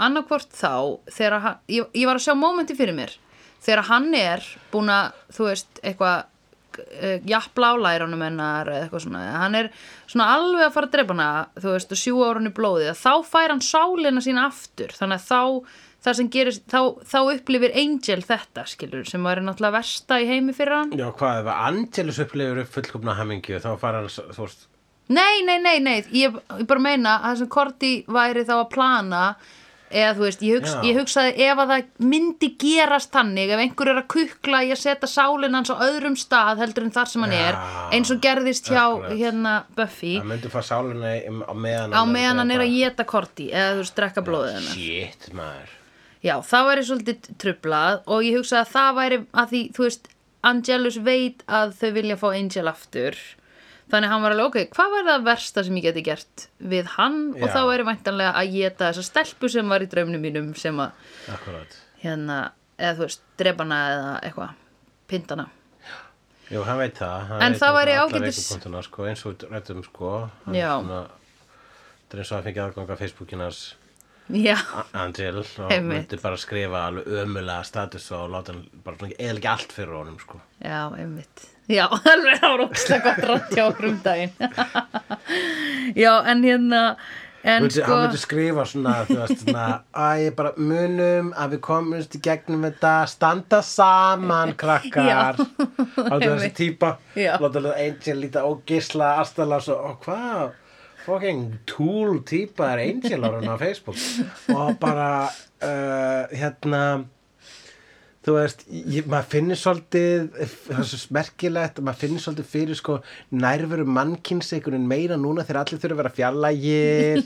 Speaker 1: annarkvort þá, þegar hann ég, ég var að sjá mómenti fyrir mér þegar hann er búin að, þú veist eitthvað, uh, jafnla á lærunum hennar eða eitthvað svona hann er svona alveg að fara að drepa hana þú veist, og sjúga á hann í blóðið að þá fær hann sálina sína aftur þannig að þá, það sem gerist þá, þá upplifir Angel þetta, skilur sem var náttúrulega versta í heimi fyrir hann
Speaker 2: já, hvað ef Angelus upplifur fullkomna hamingju þá fara hann, þú veist
Speaker 1: Nei, nei, nei, nei, ég, ég bara meina að það sem Korti væri þá að plana eða þú veist, ég, hugs,
Speaker 2: Já.
Speaker 1: ég hugsaði ef að það myndi gerast þannig ef einhver er að kukla í að setja sálinn hans á öðrum stað heldur en þar sem hann er
Speaker 2: Já,
Speaker 1: eins og gerðist hjá
Speaker 2: akkurat.
Speaker 1: hérna Buffy
Speaker 2: það myndi fara sáluna í- á meðan
Speaker 1: á meðan hann er að geta Korti eða þú veist, drekka blóðið hennar
Speaker 2: shit, maður
Speaker 1: Já, það væri svolítið trublað og ég hugsaði að það væri að því, þú veist, Angelus veit að þau vilja fá Angel aftur. Þannig að hann var alveg, ok, hvað væri það versta sem ég geti gert við hann og
Speaker 2: Já.
Speaker 1: þá væri væntanlega að geta þessa stelpu sem var í draumnum mínum sem að,
Speaker 2: akkurat
Speaker 1: hérna, eða þú veist, drepana eða eitthvað, pindana.
Speaker 2: Jú, hann veit það. Hann
Speaker 1: En
Speaker 2: veit
Speaker 1: það
Speaker 2: um
Speaker 1: væri
Speaker 2: alla
Speaker 1: ágætis-
Speaker 2: veikupunktana, Sko, eins og við rættum sko. Hann
Speaker 1: Já.
Speaker 2: Svona, það er eins og hann fengi aðganga Facebookinars
Speaker 1: Já,
Speaker 2: Angel og
Speaker 1: Einmitt.
Speaker 2: myndi bara skrifa alveg ömulega status og láta hann bara svona eða ekki allt fyrir honum sko.
Speaker 1: já, einmitt. Já, [laughs] alveg það var ókslega gott rætt hjá okkur um daginn. [laughs] já, en hérna, en
Speaker 2: myndi,
Speaker 1: sko...
Speaker 2: Hann myndi skrifa svona, þú veist, svona Æ, bara munum að við komumst í gegnum þetta standa saman
Speaker 1: Já.
Speaker 2: krakkar á þessi
Speaker 1: Einmitt.
Speaker 2: típa
Speaker 1: Já.
Speaker 2: láta hann Angel líta ógisla aðstala svo, og hvað fucking tool típa er Angel á hann á Facebook og bara uh, hérna þú veist, ég, maður finnir svolítið það er svo smerkilegt, maður finnir svolítið fyrir sko nærveru mannkins einhvern veginn meira núna þegar allir þurfa að vera fjallægir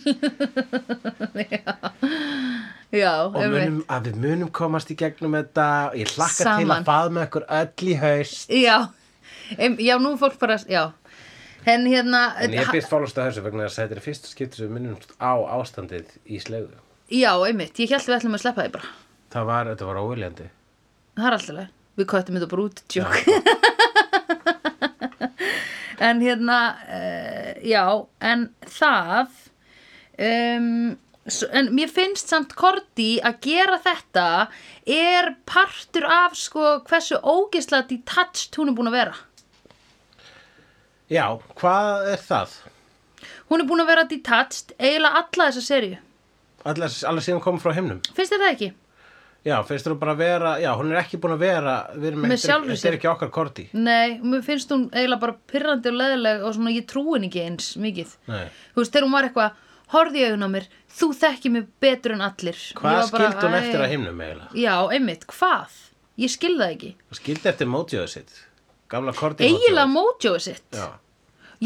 Speaker 1: Já,
Speaker 2: og munum, að við munum komast í gegnum þetta og ég hlakka til
Speaker 1: Saman.
Speaker 2: að faðma ykkur öll í haust
Speaker 1: Já, em, já, nú er fólk bara, já. En hérna,
Speaker 2: en ég
Speaker 1: ha-
Speaker 2: byrst fólast að þessu vegna þess að þetta er fyrsta skipti sem við minnum á ástandið í slegu
Speaker 1: já, einmitt, ég held við ætlum að sleppa því bara.
Speaker 2: það var, þetta var óviljandi
Speaker 1: Það er alltaf leið. Við kvættum þetta bara út, tjók. [laughs] en hérna, uh, já, en það, um, s- en mér finnst samt Korti að gera þetta er partur af sko hversu ógisla detached hún er búin að vera.
Speaker 2: já, hvað er það?
Speaker 1: Hún er búin að vera detached eiginlega alla þessa seríu.
Speaker 2: Alla, alla síðan komum frá himnum
Speaker 1: Finnst þér það ekki?
Speaker 2: já, finnst þú bara að vera, já, hún er ekki búin að vera við erum
Speaker 1: Með
Speaker 2: ekki-
Speaker 1: sjálfri
Speaker 2: þetta
Speaker 1: sér.
Speaker 2: er ekki okkar korti
Speaker 1: Nei, mér finnst hún eiginlega bara pyrrandi og leðileg og svona ég trúin ekki eins mikið.
Speaker 2: Nei.
Speaker 1: Þú veist, þegar hún var eitthvað, horfði í augun á mér, þú þekki mig betur en allir.
Speaker 2: hvað
Speaker 1: Ég var bara,
Speaker 2: skildi hún
Speaker 1: æ.
Speaker 2: eftir að himnum eiginlega?
Speaker 1: Já, einmitt, hvað? Ég skildi það ekki.
Speaker 2: skildi eftir mótjóðu sitt gamla korti
Speaker 1: Eiginlega mótjóið sitt.
Speaker 2: já, Mhm.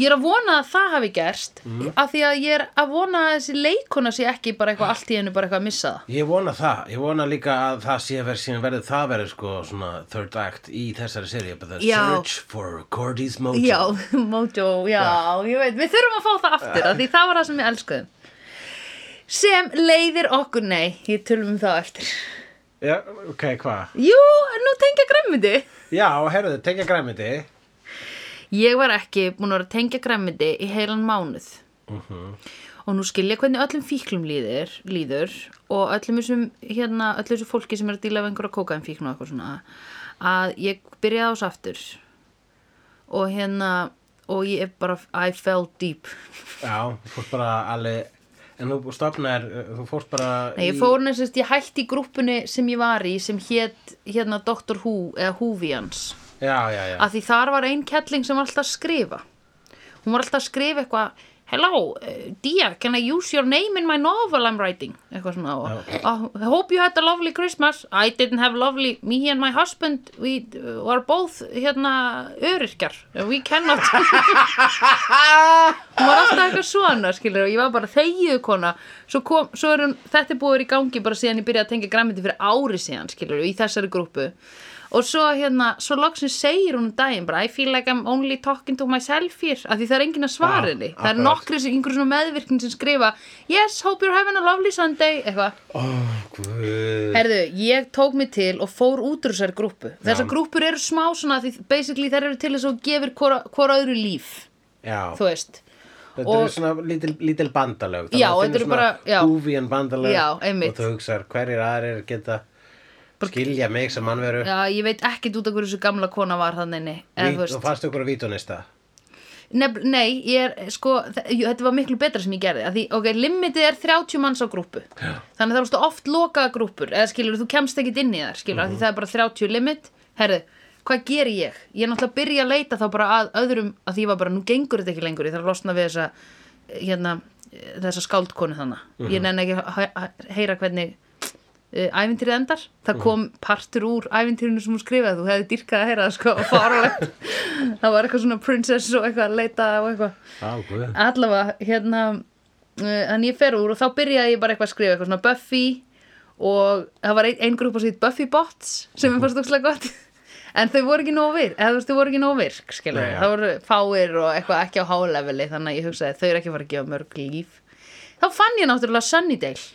Speaker 1: Ég er að vona að það hafi gerst, af því að ég er að vona að þessi leikona sé ekki bara eitthvað allt í hennu bara eitthvað að missa það.
Speaker 2: Ég vona það, ég vona líka að það sé verið síðan verið það verið sko svona third act í þessari seri The
Speaker 1: Já.
Speaker 2: Search for Cordy's Mojo
Speaker 1: Já, [laughs] Mojo, já, ég veit, við þurfum að fá það aftur af því það var það sem ég elskuðum sem leiðir okkur, nei, ég tölum um það eftir
Speaker 2: Já, ok, hvað?
Speaker 1: Jú, en nú tengja græmiti.
Speaker 2: Já, herruðu, tengja græmiti
Speaker 1: Ég var ekki búin að vera að tengja græmiti í heilan mánuð. Og nú skilja hvernig öllum fíklum líður, líður og öllum þessum, hérna, öllum þessum fólki sem er að díla af einhverja kókaðin fíkn og eitthvað svona, að ég byrjaði ás aftur og hérna, og ég er bara, I fell deep.
Speaker 2: Já, þú fórst bara alveg En þú stopnaðir, uh, þú fórst bara
Speaker 1: Nei, ég
Speaker 2: í-
Speaker 1: fór næstast, ég hætti í grúppunni sem ég var í sem hét, hérna, Dr. Who eða Whovians.
Speaker 2: Já, já, já
Speaker 1: að því þar var ein kelling sem var alltaf að skrifa hún var alltaf að skrifa eitthvað hello, uh, Dia, can I use your name in my novel I'm writing eitthvað svona og, oh, I hope you had a lovely Christmas I didn't have lovely, me and my husband we uh, were both hérna öryrkjar, we cannot hún var alltaf eitthvað svona skilur og ég var bara þegiðu kona svo kom, svo er hún, þetta er búið að vera í gangi bara síðan ég byrjaði að tengja græmiti fyrir ári síðan skilur í þessari grúpu og svo hérna, svo loksins segir hún um daginn bara, I feel like I'm only talking to myself here, af því það er enginn að svara
Speaker 2: Já,
Speaker 1: henni það er
Speaker 2: Ah, akkurat.
Speaker 1: nokkri, einhver svona meðvirkning sem skrifa yes, hope you're having a lovely Sunday eitthvað
Speaker 2: Ó, guð.
Speaker 1: Herðu, ég tók mig til og fór út úr þessari grúppu. Þessar grúppur eru smá svona, því basically þær eru til þess að þú gefir hvora, hvora öðru líf,
Speaker 2: Já,
Speaker 1: þú veist.
Speaker 2: þetta eru
Speaker 1: og-
Speaker 2: svona lítil, lítil bandalög. Þannig
Speaker 1: Já,
Speaker 2: að þú
Speaker 1: þetta
Speaker 2: finnur
Speaker 1: eru bara- já.
Speaker 2: Svona húfían bandalög.
Speaker 1: Já, einmitt.
Speaker 2: Og þú hugsar hverjir aðrir geta skilja mig sem mannveru.
Speaker 1: Já, ég veit ekkert út af hverju þessu gamla kona var þannig, nei, eða þú
Speaker 2: Vít, og
Speaker 1: veist.
Speaker 2: fannst ykkur að vítunista.
Speaker 1: Nef, nei, ég er, sko, þ- jú, þetta var miklu betra sem ég gerði, að því, ok, limitið er 30 manns á grúppu. Já. Þannig þarfst þú oft lokaða grúppur, eða skilur, þú kemst ekkert inn í þar, skilur, mm
Speaker 2: Mhm.
Speaker 1: því það er bara 30 limit. Herðu, hvað ger ég? Ég er náttúrulega að byrja að leita þá bara að öðrum, að því ég var bara, nú gengur þetta ekki lengur, ég þarf að losna við þessa, hérna, þessa skáldkonu þannig.
Speaker 2: Mhm.
Speaker 1: Ég nenni ekki að hæ- að heyra hvernig uh, ævintýrið endar.
Speaker 2: Mhm.
Speaker 1: Það kom partur úr ævintýrinu sem hún skrifaði, þú hefði dýrkað að heyra það sko, [laughs] farulegt. það var eitthvað svona princess og eitthvað að leita og eitthvað.
Speaker 2: Á, guð.
Speaker 1: Allavega, hérna, uh, en ég fer úr og þá byrjaði ég bara eitthvað að skrifa eitthvað svona Buffy og það var ein, ein grúpa sem heit Buffy Bots sem
Speaker 2: Mhm.
Speaker 1: er fannst ókslega gott. En þau voru ekki nóg virk, eða þú veist, þau voru ekki nóg virk, skilur
Speaker 2: Nei, já.
Speaker 1: það voru fáir og eitthvað ekki á háleveli, þannig að ég hugsaði þau eru ekki að fara að gefa mörg líf. Þá fann ég náttúrulega Sunnydale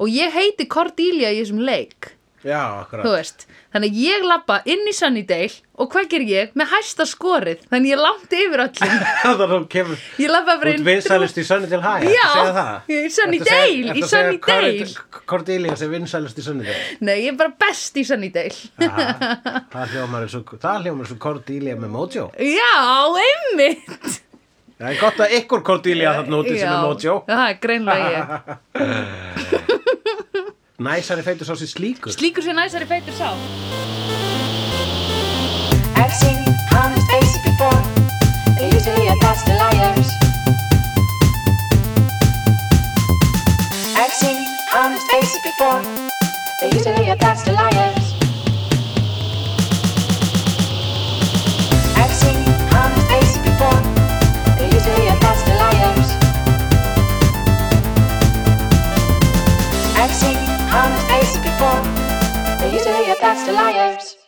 Speaker 1: og ég heiti Cordelia í þessum leik
Speaker 2: Já,
Speaker 1: þú
Speaker 2: akkurat.
Speaker 1: veist, þannig að ég lappa inn í Sunnydale og hvað ger ég? með hæsta skorið, þannig ég langt yfir
Speaker 2: [laughs]
Speaker 1: öllum
Speaker 2: [laughs] Þannig að þú kemur
Speaker 1: ég lappa bara
Speaker 2: út
Speaker 1: inn
Speaker 2: vinsælust í Sunnydale High, ertu
Speaker 1: Já,
Speaker 2: að segja það?
Speaker 1: í Sunnydale,
Speaker 2: Ertu að segja-
Speaker 1: í
Speaker 2: ertu að segja
Speaker 1: Sunnydale.
Speaker 2: Cordi- Cordelia sem vinsælust í Sunnydale.
Speaker 1: [laughs] nei, ég er bara best í Sunnydale
Speaker 2: Aha, það hljómar eins og, það hljómar eins og Cordelia með Mojo.
Speaker 1: já, einmitt
Speaker 2: Það er gott að ykkur Cordelia þarna úti sem
Speaker 1: Já,
Speaker 2: er Mojo.
Speaker 1: það er greinlega ég
Speaker 2: Næsari feitur sá sér slíkur.
Speaker 1: slíkur sér næsari feitur sá
Speaker 3: I've seen honest faces before. They're usually a pass to liars. I've seen honest faces before. They're usually a pass to liars. I've seen honest faces before. They're usually a pass to liars. I've seen honest faces before. They're usually a pass to liars.